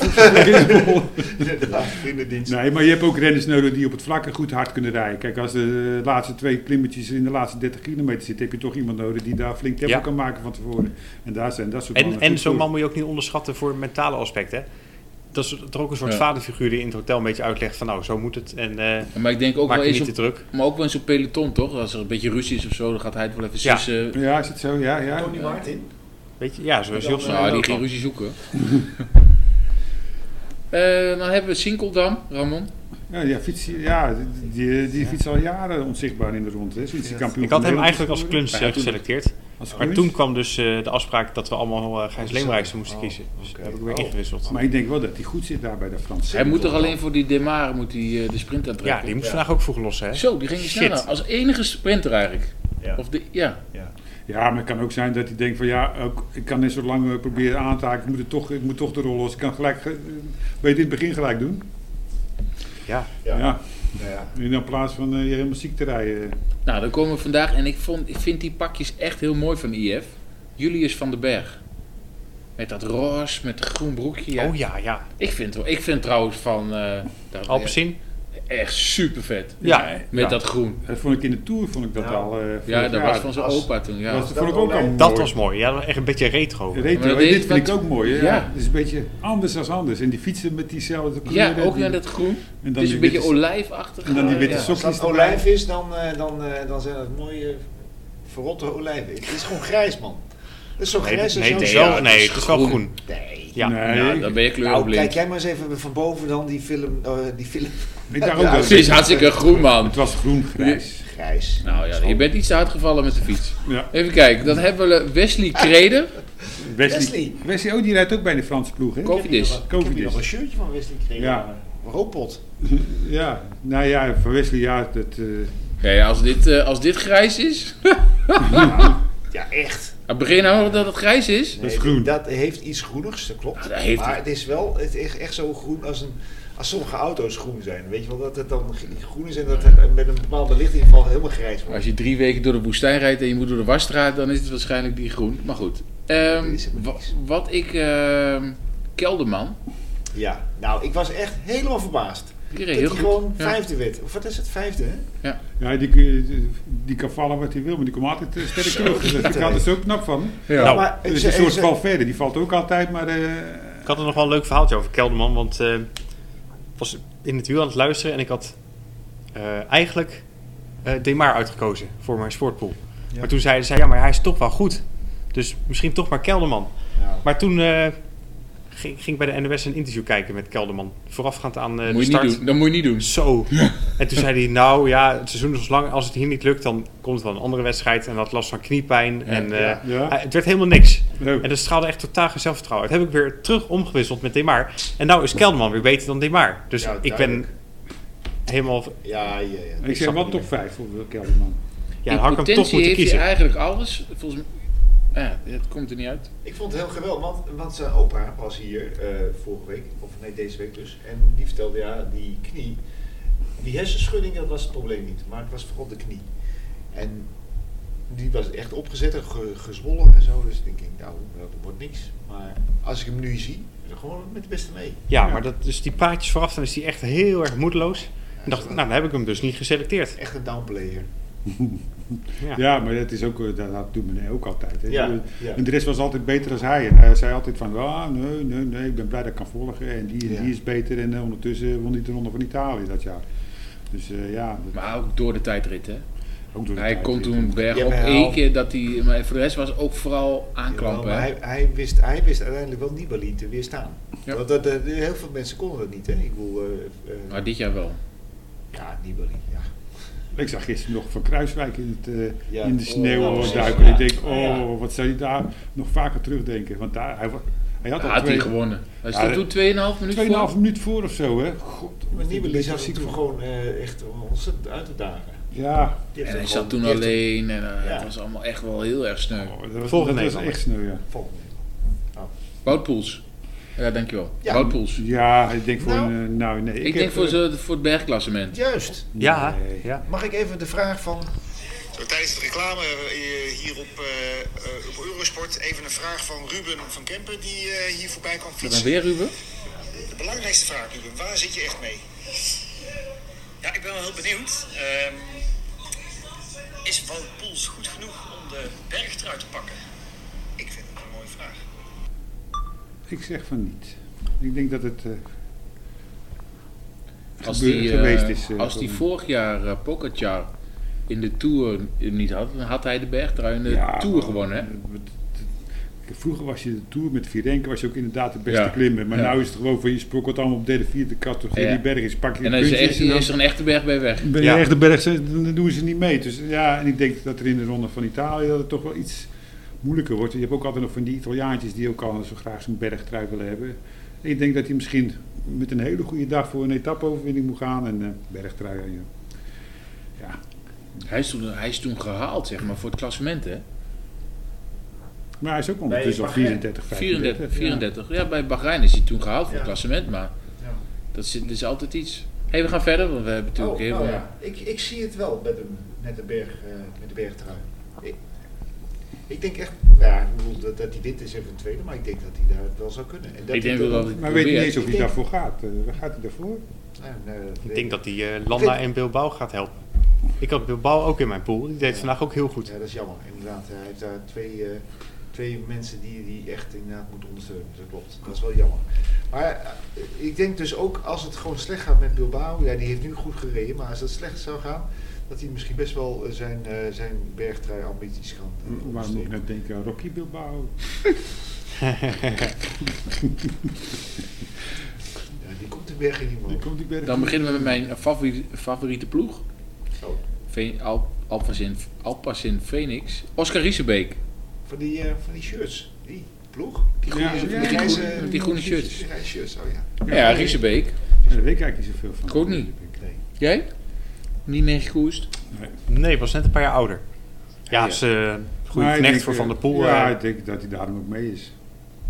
Inderdaad, vriendendienst. Nee, maar je hebt ook renners nodig die op het vlakke goed hard kunnen rijden. Kijk, als de laatste twee klimmetjes in de laatste 30 kilometer zitten, heb je toch iemand nodig die daar flink tempo Ja. kan maken van tevoren. En daar zijn dat soort En, mannen en goed zo'n voor. man moet je ook niet onderschatten voor mentale aspecten. Dat is toch ook een soort Ja. vaderfiguur die in het hotel een beetje uitlegt van nou, zo moet het. En eh Maar ik denk ook maak wel je eens niet op, te druk. maar ook wel eens op peloton, toch? Als er een beetje ruzie is of zo, dan gaat hij het wel even Ja. sissen. Ja, is het zo? Ja, ja. Tony Martin. Weet je, ja, zoals Dan, Jobs. Nou, die ook ging al. ruzie zoeken. Eh, dan hebben we Sinkeldam, Ramon. Ja, ja, fiets, ja die, die, die fietst al jaren onzichtbaar in de rond. Hè. Sinds die kampioen Ik had van hem Nederland eigenlijk is geworden. als kluns Ja, eh, toen- geselecteerd. als Maar kluns. toen kwam dus eh, de afspraak dat we allemaal uh, Gijs Leemrijksen moesten kiezen. Dus oké. daar heb ik weer ingewisseld. Maar ik denk wel dat hij goed zit daar bij de Fransen. Hij moet toch alleen voor die Demare moet die, eh, de sprint aantrekken? ja, die moest Ja. vandaag ook vroeg lossen, hè? Zo, die ging Shit. sneller. Als enige sprinter eigenlijk. Ja. Of de, ja. Ja, maar het kan ook zijn dat hij denkt van ja, ook, ik kan net zo lang eh, proberen aan te haken. Ik moet, het toch, ik moet toch de rol los. Ik kan gelijk, eh, weet je, in het begin gelijk doen. Ja. Ja. ja. Nou ja. In plaats van eh, je helemaal ziek te rijden. Eh, Nou, dan komen we vandaag. En ik, vond, ik vind die pakjes echt heel mooi van IF. Julius van den Berg. Met dat roze, met het groen broekje. Ja. Oh ja, ja. Ik, vind, wel- ik vind trouwens van... eh dat- Alpecin? Echt super vet. Ja. Met Ja. dat groen. Dat vond ik in de Tour vond ik dat Ja. al. eh, vorig Ja, dat jaar. was van zijn als- opa toen. Ja. Dat was- dat vond ik ook al alleen. mooi. Dat was mooi. Ja, dat was echt een beetje retro. Retro, Maar dat hè, is dit vind ik wat- ook mooi. hè. Ja. Ja. Het is een beetje anders als anders. En die fietsen met diezelfde kleuren. ja, ook die- naar dat groen. en dan Het is die een beetje witte- olijfachtig. En dan die Eh, witte ja. Als dat sokjes erbij. olijf is, dan, eh, dan, eh, dan zijn dat mooie verrotte olijven. Het is gewoon grijs, man. Het is zo Nee, grijs als nee, jouw het is zoon. wel, nee, het is wel groen. groen. Nee. Ja. Ja, Nee, dan ben je Nou, kleurblind. kijk jij maar eens even van boven dan die film, eh, die film ik dacht ook Ja, wel. het is hartstikke groen, man. Het was groen-grijs. grijs. Nou ja, je bent iets te hard gevallen met de fiets. Ja. Even kijken, dan hebben we Wesley Kreder. Wesley. Wesley. Wesley. oh, die rijdt ook bij de Franse ploeg, hè? Covid is. Ik heb hier nog Covidis. een shirtje van Wesley gekregen. Ja. Een Robot. Ja, nou ja, van Wesley, ja, dat... eh, Ja, ja, als, dit, eh, als dit grijs is. Ja, echt. Ah, Begin nou nog dat het grijs is. Dat is Nee, groen. Dat heeft iets groenigs, dat klopt. Ja, dat heeft maar het. het is wel het is echt zo groen als, een, als sommige auto's groen zijn. Weet je wel, dat het dan groen is en dat het met een bepaalde lichtinval helemaal grijs wordt. Als je drie weken door de woestijn rijdt en je moet door de wasstraat, dan is het waarschijnlijk die groen. Maar goed. Ehm, Dit is het wa- niks. wat ik. ehm, Kelderman. Ja, nou, ik was echt helemaal verbaasd. Die Dat reed hij heel goed. gewoon Ja. vijfde werd. Of wat is het, vijfde, hè? Ja, die, kun- die kan vallen wat hij wil, maar die komt altijd eh, sterk terug. Dus Daar vind ik altijd zo knap van. Ja. Nou, maar Dus ze- een soort ze- Valverde, die valt ook altijd, maar... eh, Ik had er nog wel een leuk verhaaltje over Kelderman, want eh, ik was in het wiel aan het luisteren en ik had eh, eigenlijk eh Demar uitgekozen voor mijn sportpool. Maar toen zeiden ze, ja, maar hij is toch wel goed. Dus misschien toch maar Kelderman. Nou, Maar toen eh, ging, ging ik bij de NOS een interview kijken met Kelderman, voorafgaand aan eh, de moet je start. niet doen. Dat moet je niet doen. Zo. En toen zei hij, nou ja, het seizoen is nog lang. Als het hier niet lukt, dan komt het wel een andere wedstrijd. En had last van kniepijn. en eh, ja, ja. hij- het werd helemaal niks. leuk. En dat straalde echt totaal geen zelfvertrouwen. Dat heb ik weer terug omgewisseld met Demar. En nou is Kelderman weer beter dan Demar. Dus Ja, ik ben duidelijk. helemaal... ja, ja, ja. Ik snap zeg het wel niet top 5 voor Kelderman. Ja, In dan had ik hem potentie toch moeten heeft kiezen. hij eigenlijk alles. Volgens mij. Ja, het komt er niet uit. Ik vond het heel geweldig, want, want zijn opa was hier eh, vorige week, of nee, deze week dus. En die vertelde, ja, die knie, die hersenschudding, dat was het probleem niet. Maar het was vooral de knie. En die was echt opgezet en ge- gezwollen en zo. Dus denk ik, nou, dat wordt niks. Maar als ik hem nu zie, is het gewoon met de beste mee. Ja, Ja. maar dat, dus die praatjes vooraf, dan is hij echt heel erg moedeloos. En dacht ik, nou, dan heb ik hem dus niet geselecteerd. Echt een downplayer. Ja. Ja, maar dat, is ook, eh, dat, dat doet meneer ook altijd. Hè. Ja, Eh, ja. En de rest was altijd beter dan hij. En hij zei altijd van, ah, nee, nee, nee, ik ben blij dat ik kan volgen. En die, Ja. die is beter. En eh, ondertussen won hij de Ronde van Italië dat jaar. Dus eh, ja, dat- Maar ook door de tijdrit, hè? ook door de Hij tijd eh, kon zit. toen berg Ja, op maar hij één al- keer dat hij. Maar voor de rest was ook vooral Jawel, aanklampen. maar hè? hij, hij, wist, hij wist uiteindelijk wel Nibali te weerstaan. Ja. Want dat, dat- heel veel mensen konden dat niet, hè. Ik bedoel, eh, eh, Maar dit jaar wel. ja, Nibali, ja. Ik zag gisteren nog van Kruiswijk in, het, eh, Ja. in de sneeuw Oh, precies. duiken. Ja. Ik denk, oh, Ja. wat zou hij daar nog vaker terugdenken? Want daar, hij, wa- hij had Had, al hij twee, gewonnen. Hij Ja, stond dat- toen 2,5 minuten voor. 2,5 minuut voor of zo, hè? God, Maar Nibali beetje zat het ziek toen van. gewoon eh, echt ontzettend uit te dagen. Ja, Die heeft En hij ook zat gewoon- toen die heeft alleen en eh, Ja. het was allemaal echt wel heel erg sneu. oh, dat was, Volgende dat was Nederlander. echt sneu, ja. een volgende. Wout Poels. Ja, dankjewel. Ja. Wout Poels. Ja, ik denk voor Nou, een... eh, nou, nee. Ik, heb, denk voor, eh, ze- voor het bergklassement. Juist. Ja, Nee. ja. Mag ik even de vraag van Zo, tijdens de reclame eh, hier op, eh, eh, op Eurosport even een vraag van Ruben van Kempen die eh, hier voorbij kwam Dat dan fietsen. weer Ruben? De belangrijkste vraag, Ruben, waar zit je echt mee? Ja, ik ben wel heel benieuwd. Ehm, is Wout Poels goed genoeg om de bergtrui te pakken? Ik vind het een mooie vraag. Ik zeg van niet. Ik denk dat het eh, Als gebeur- die, eh, geweest is. eh, als die gewoon. vorig jaar eh, Pogacar in de Tour niet had, dan had hij de bergtrui in de Ja, Tour maar- gewonnen. Hè? Vroeger was je de Tour met Vierenke, was je ook inderdaad de beste Ja. klimmer. Maar Ja. nu is het gewoon van je sprokkelt allemaal op derde, vierde kast toch Ja. die berg is, pak je En de dan is er, puntjes echt, en dan is er een echte berg bij weg. ben je Ja. echt de berg, ze- dan doen ze niet mee. Dus ja, en ik denk dat er in de ronde van Italië dat het toch wel iets moeilijker wordt. Je hebt ook altijd nog van die Italiaantjes die ook al zo graag zo'n bergtrui willen hebben. Ik denk dat hij misschien met een hele goede dag voor een etappeoverwinning moet gaan en eh bergtrui aan je. Ja, Hij is, toen, hij is toen gehaald, zeg maar, voor het klassement, hè? maar hij is ook ondertussen al 34, 35. 34, 34. Ja, bij Bahrein is hij toen gehaald voor het Ja. klassement, maar Ja. dat is, dat is altijd iets. Hé, hey, we gaan verder, want we hebben natuurlijk eh, Oh, heel nou veel- ja. ik, ik zie het wel met de, met de, berg, eh, met de bergtrui. Ik, ik denk echt, nou ja, ik bedoel, dat, dat hij wint is even een tweede, maar ik denk dat hij daar het wel zou kunnen. En dat Ik hij denk wel dat dan- hij Maar weet niet probeert. eens of Ik hij denk- daarvoor gaat. Eh, waar gaat hij daarvoor? Ja, nee, Ik denk dat die eh, Landa en Bilbao gaat helpen. Ik had Bilbao ook in mijn pool. Die deed het vandaag ook heel goed. Ja, dat is jammer. Inderdaad, hij heeft daar twee, eh, twee mensen die die echt inderdaad moeten ondersteunen. Dat klopt. Dat is wel jammer. Maar eh, ik denk dus ook als het gewoon slecht gaat met Bilbao, ja, die heeft nu goed gereden, maar als het slecht zou gaan, dat hij misschien best wel eh, zijn, eh, zijn bergtrui ambities kan. eh, Waarom moet ik ondersteunen. nou denken aan Rocky Bilbao? Ja, die komt de bergen niet Die meer. komt die berg. Dan beginnen we met mijn favoriete, favoriete ploeg. Oh. Ve- Al- Alpacin, Alpacin Phoenix. Oscar Riesebeek. Van die, eh, van die shirts. Die ploeg. Die Ja, groene, ja, die ja, die grijze- groene- die groene shirts. Die grijze shirts, oh ja. Ja, Riesebeek. Ja, Daar weet ik eigenlijk niet zoveel van. Ik ook niet. Nee. Jij? Niet meer gekoerst? Nee, was net een paar jaar ouder. Ja, Ja. ze goede Maar ik knecht denk, voor eh, Van der Poel. Ja, eh, ik denk dat hij daarom ook mee is.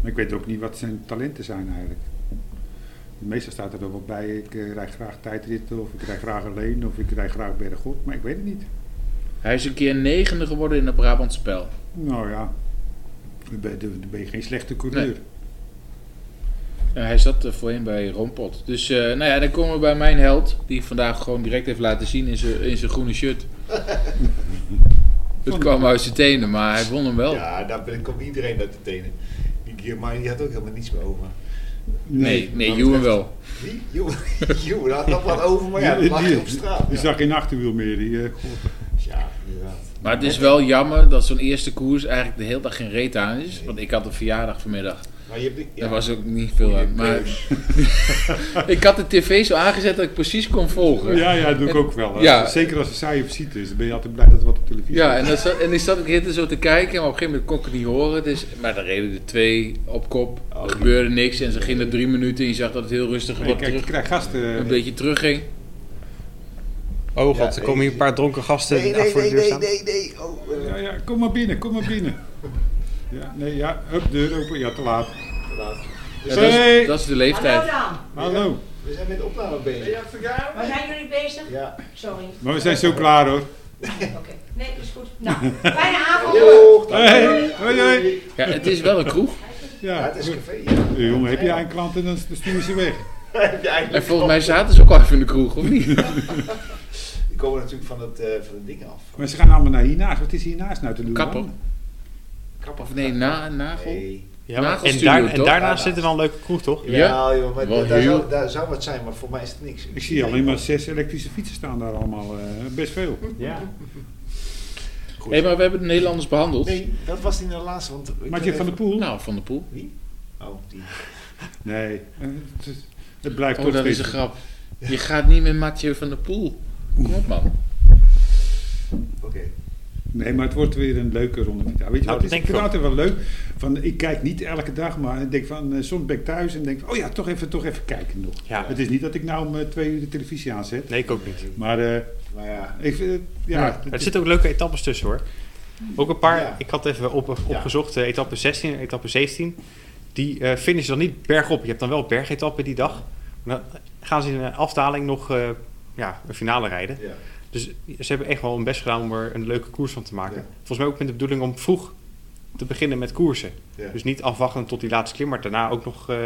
Maar ik weet ook niet wat zijn talenten zijn eigenlijk. Meestal staat er dan wel bij, ik eh, rijd graag tijdritten, of ik rijd graag alleen, of ik rijd graag bergop, maar ik weet het niet. Hij is een keer negende geworden in het Brabantse spel. Nou ja, dan ben je, dan ben je geen slechte coureur. Nee. Ja, hij zat eh, voorheen bij Rompot. Dus eh, nou ja, dan komen we bij mijn held. Die vandaag gewoon direct heeft laten zien in zijn- in zijn groene shirt. Het kwam uit zijn tenen, maar hij won hem wel. Ja, daar ben- komt iedereen uit de tenen. Die Guillermo, die had ook helemaal niets meer over. nee, nee, Juwen wel. Wie? Joe, Joe, daar had nog wat over, maar Oh ja, dat lag je op straat. Die Ja, zag geen achterwiel meer. Die, eh, ja inderdaad. Maar het is wel jammer dat zo'n eerste koers eigenlijk de hele dag geen reet aan is. Want ik had een verjaardag vanmiddag. Maar je hebt die- ja, Daar was ook niet veel aan. Maar keus. ik had de tv zo aangezet dat ik precies kon volgen. ja, ja, dat doe ik ook wel. hè. Ja. Zeker als er saaie visite is, dan ben je altijd blij dat er wat op televisie Ja, is. en, dan zat, en ik zat ook heel zo te kijken, maar op een gegeven moment kon ik het niet horen. Dus, maar dan reden er twee op kop, er gebeurde niks en ze gingen er drie minuten en je zag dat het heel rustig Nee, wat kijk, je terug, krijgt gasten. een beetje terugging. Oh Ja, god, er komen hier een paar dronken gasten Nee, achter nee, voor de nee, deur nee, nee, staan. nee. Oh, eh, Ja, ja, kom maar binnen, kom maar binnen. Ja, nee, ja, hup, deur open. Ja, te laat. te laat. Ja, dat, Hey! is, dat is de leeftijd. Hallo dan, Hallo. We zijn met de opname bezig. waar zijn jullie bezig? Ja. Sorry. Maar we zijn zo klaar hoor. Oké, nee, is goed. Nou, fijne avond. Doeg, dag. Hey, hoi, hoi. Ja, het is wel een kroeg. Ja, Ja, het is café. Ja. eh, jongen, heb jij een klant en dan stuur je ze weg. Heb je En eigenlijk- volgens mij zaten ze ook al even in de kroeg, of niet? Die komen natuurlijk van het, eh, van het ding af. Maar ze gaan allemaal naar hiernaast. Wat is hiernaast nou te doen? dan? Kapper. Of nee, na, nagel. Nee. Ja, maar- en, Nagelstudio, daar, en toch? daarnaast zit er wel een leuke kroeg, toch? Ja? Ja, joh, maar Wel daar, daar heel- zou, daar zou wat zijn, maar voor mij is het niks. Ik zie alleen maar zes elektrische fietsen staan daar allemaal. eh, best veel. Ja. Hé, maar we hebben de Nederlanders behandeld. Nee, dat was niet de laatste. Want ik Maatje van de Poel? Nou, Van der Poel. Oh, die. Nee. eh, Het, is- het blijft Oh, toch dat is een steeds- grap. Je gaat niet met Mathieu van der Poel. Kom op, man. Oké. Nee, maar het wordt weer een leuke ronde. Weet je wat? dat het is? denk ik vind Nou, ik het altijd wel leuk. Van, ik kijk niet elke dag, maar ik denk van, eh, soms ben ik thuis en denk van, oh ja, toch even, toch even kijken nog. Ja. Het is niet dat ik nou om eh, twee uur de televisie aanzet. Nee, ik ook niet. Maar eh, Maar ja. ik vind, het- ja, Ja, het Maar er is- zitten ook leuke etappes tussen hoor. Ook een paar, Ja. ik had even op, opgezocht, eh, etappe 16 en etappe 17. Die eh finishen dan niet bergop. Je hebt dan wel bergetappen die dag. Maar Dan gaan ze in een afdaling nog eh, ja, een finale rijden. ja. Dus ze hebben echt wel hun best gedaan om er een leuke koers van te maken. Ja. Volgens mij ook met de bedoeling om vroeg te beginnen met koersen. Ja. Dus niet afwachten tot die laatste klim, maar daarna ook nog eh,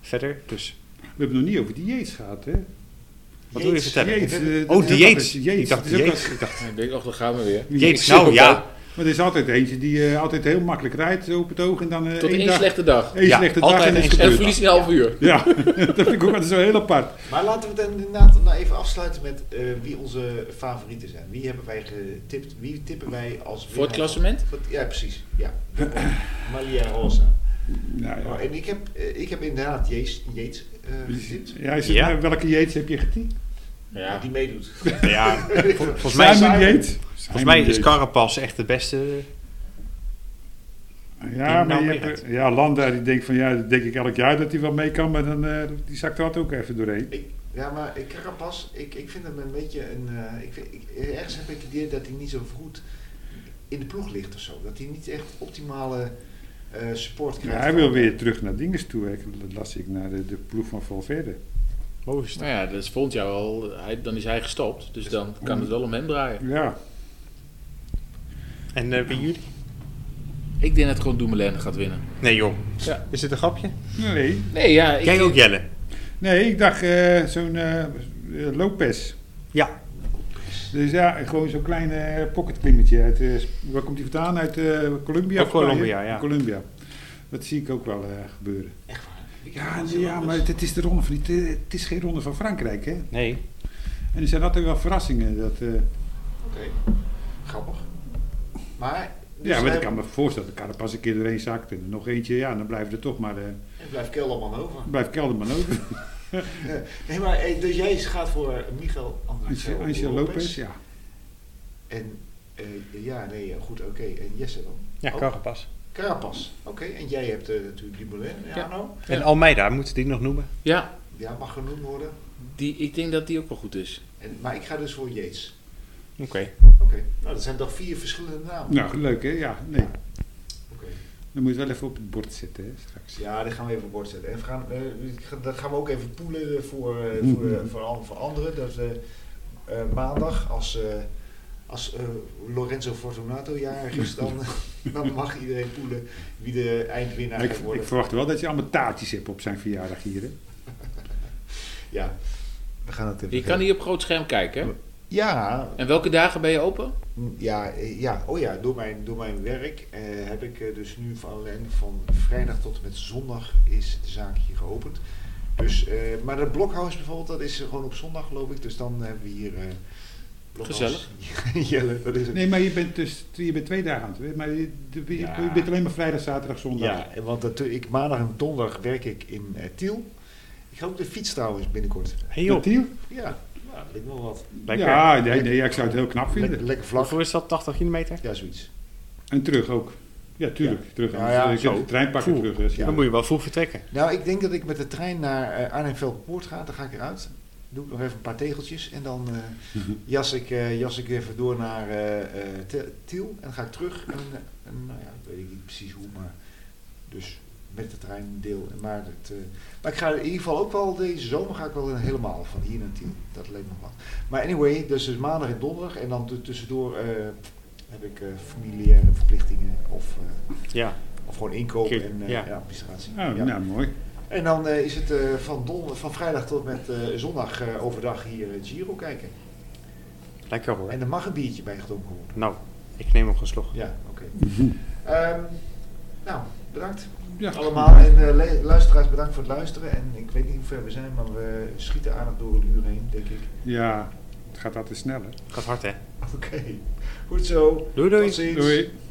verder. Dus We hebben het nog niet over dieets gehad, hè? wat wil je vertellen? Jeets, eh, dat is oh, ook dieets. altijd- Jeets, Ik dacht dat is ook dieets. altijd- Ik dacht, Ik denk, oh, daar gaan we weer. dieets. Ik Nou zoek ja, ook Maar er is altijd eentje die eh, altijd heel makkelijk rijdt zo op het oog en dan eh Tot één één dag, slechte dag. één Ja, slechte altijd dag en één is slechte En gebeurd. dag. verlies je een half uur. Ja, dat vind ik ook altijd zo heel apart. Maar laten we het inderdaad nou even afsluiten met eh, wie onze favorieten zijn. Wie hebben wij getipt? Wie tippen wij als Voor het winnaar? klassement? Voor het- Ja, precies. Ja. Malia Rosa. Nou, ja. Oh, en ik heb, eh, ik heb inderdaad Jeets, Jeets eh, getipt. Ja, hij zegt, Ja. eh, welke Jeets heb je getiend? Ja. Die meedoet. ja, vol- volgens mij, Simon is, Yates. volgens mij is Carapaz echt de beste. Ja, maar nou je meer hebt, ja, Landa die denkt van, ja, dat denk ik elk jaar dat hij wel mee kan, maar dan, eh, die zakt er altijd ook even doorheen. Ik, ja, maar ik- Carapaz, ik, ik vind hem een beetje een... eh, ik vind, ik, ergens heb ik het idee dat hij niet zo goed in de ploeg ligt of zo. Dat hij niet echt optimale eh, support Ja, krijgt. hij wil weer terug naar Dinges toe, hè. dat las ik, naar de, de ploeg van Valverde. Logisch. Nou ja, dat is volgend jaar al. Hij, dan is hij gestopt. Dus dan kan het wel om hem draaien. Ja, En eh, wie jullie? Ik denk dat gewoon Doemelen gaat winnen. Nee joh, Ja. is dit een grapje? nee, Nee, ja. Ik, Jij ook Jelle? nee ik dacht eh, zo'n eh, eh, Lopez. Ja. Dus ja, gewoon zo'n klein eh, pocketklimmetje. Uit, eh, waar komt hij vandaan? Uit eh, Colombia? volgens mij, Uit Colombia, hè? ja. Colombia. Dat zie ik ook wel eh, gebeuren. Echt waar? Ja, nee, ja maar het, het is de ronde van, het, het is geen ronde van Frankrijk, hè? Nee. En er zijn altijd wel verrassingen. Dat, eh, Oké, grappig. Maar... dus ja, maar hij- ik kan me voorstellen, dat kan er pas een keer doorheen zakt. En er nog eentje, ja, dan blijft er toch maar, eh En blijft Kelderman over. blijft Kelderman over. Nee, maar eh, dus jij gaat voor Miguel Angel, Angel Lopez, ja. En eh, ja, nee, eh, goed, oké. En Jesse dan? Ja, Oh, Carapaz. Carapaz, oké. En jij hebt eh, natuurlijk Dumoulin en Ja. Arno. En Almeida, moeten die nog noemen? Ja, Ja, mag genoemd worden. die, ik denk dat die ook wel goed is. En, maar ik ga dus voor Yates. Oké. Oké, nou dat zijn toch vier verschillende namen. Nou, leuk hè? Ja, nee. Oké. Dan moet je het wel even op het bord zetten, hè, straks. Ja, die gaan we even op bord zetten. En we gaan, eh, ik ga- dat gaan we ook even poelen eh, voor, eh, Mm-hmm. voor, eh, voor, al- voor anderen. Dat we eh, maandag, als, eh, als eh, Lorenzo Fortunato jarig is, dan, dan mag iedereen poelen wie de eindwinnaar ik, gaat worden. ik verwacht wel dat je allemaal taartjes hebt op zijn verjaardag hier, hè? Ja, we gaan het even. Je kan hier op groot scherm kijken. hè? Ja, En welke dagen ben je open? mm, ja, eh, ja, oh ja, door mijn, door mijn werk eh, heb ik eh, dus nu van, alleen van vrijdag tot en met zondag is de zaak hier geopend. Dus, eh, maar dat blokhuis bijvoorbeeld, dat is gewoon op zondag geloof ik. Dus dan hebben we hier eh Blokhuis. Gezellig. Jelle, dat is het. Nee, maar je bent dus je bent twee dagen aan het werk. Maar je, de- je- Ja. je bent alleen maar vrijdag, zaterdag, zondag. Ja, en want dat, ik, maandag en donderdag werk ik in eh, Tiel. Ik ga op de fiets trouwens binnenkort. Hey Joh. joh, Ja, nou, dat lijkt me wel wat. lekker. Ja, nee, nee, ja, ik zou het heel Lek- knap vinden. lekker vlag. Hoeveel is dat? 80 kilometer? Ja, zoiets. En terug ook. Ja, tuurlijk. Terug. Ja, Ja, ja, ik heb zo. de trein pakken Oeh. terug. hè. Dan moet je wel vroeg vertrekken. Nou, ik denk dat ik met de trein naar eh Arnhem-Velperpoort ga. Dan ga ik eruit. Doe ik nog even een paar tegeltjes. En dan eh, jas, ik, eh, jas ik even door naar eh, eh, Te- Tiel. En dan ga ik terug. En, eh, en, nou ja, dat weet ik niet precies hoe. Maar dus met de trein deel. Maar, dat, eh, maar ik ga in ieder geval ook wel deze zomer ga ik wel een helemaal van hier naar Tiel. Dat leek me wat. Maar anyway, dus het is maandag en donderdag. En dan tussendoor eh, heb ik eh, familiaire verplichtingen. Of, eh, Ja. of gewoon inkoop Kijk, en eh, ja. ja, administratie. Oh, Ja. Nou, mooi. En dan eh, is het eh, van, don- van vrijdag tot met eh, zondag eh, overdag hier eh, Giro kijken. Lekker hoor. En er mag een biertje bij gedronken worden. Nou, ik neem nog een slok. Ja, oké. Ehm, nou, bedankt Ja. allemaal. En eh, le- luisteraars, bedankt voor het luisteren. En ik weet niet hoe ver we zijn, maar we schieten aardig door een uur heen, denk ik. Ja, het gaat altijd sneller. Gaat hard hè? Oké, goed zo. Doei, doei. Tot ziens. Doei.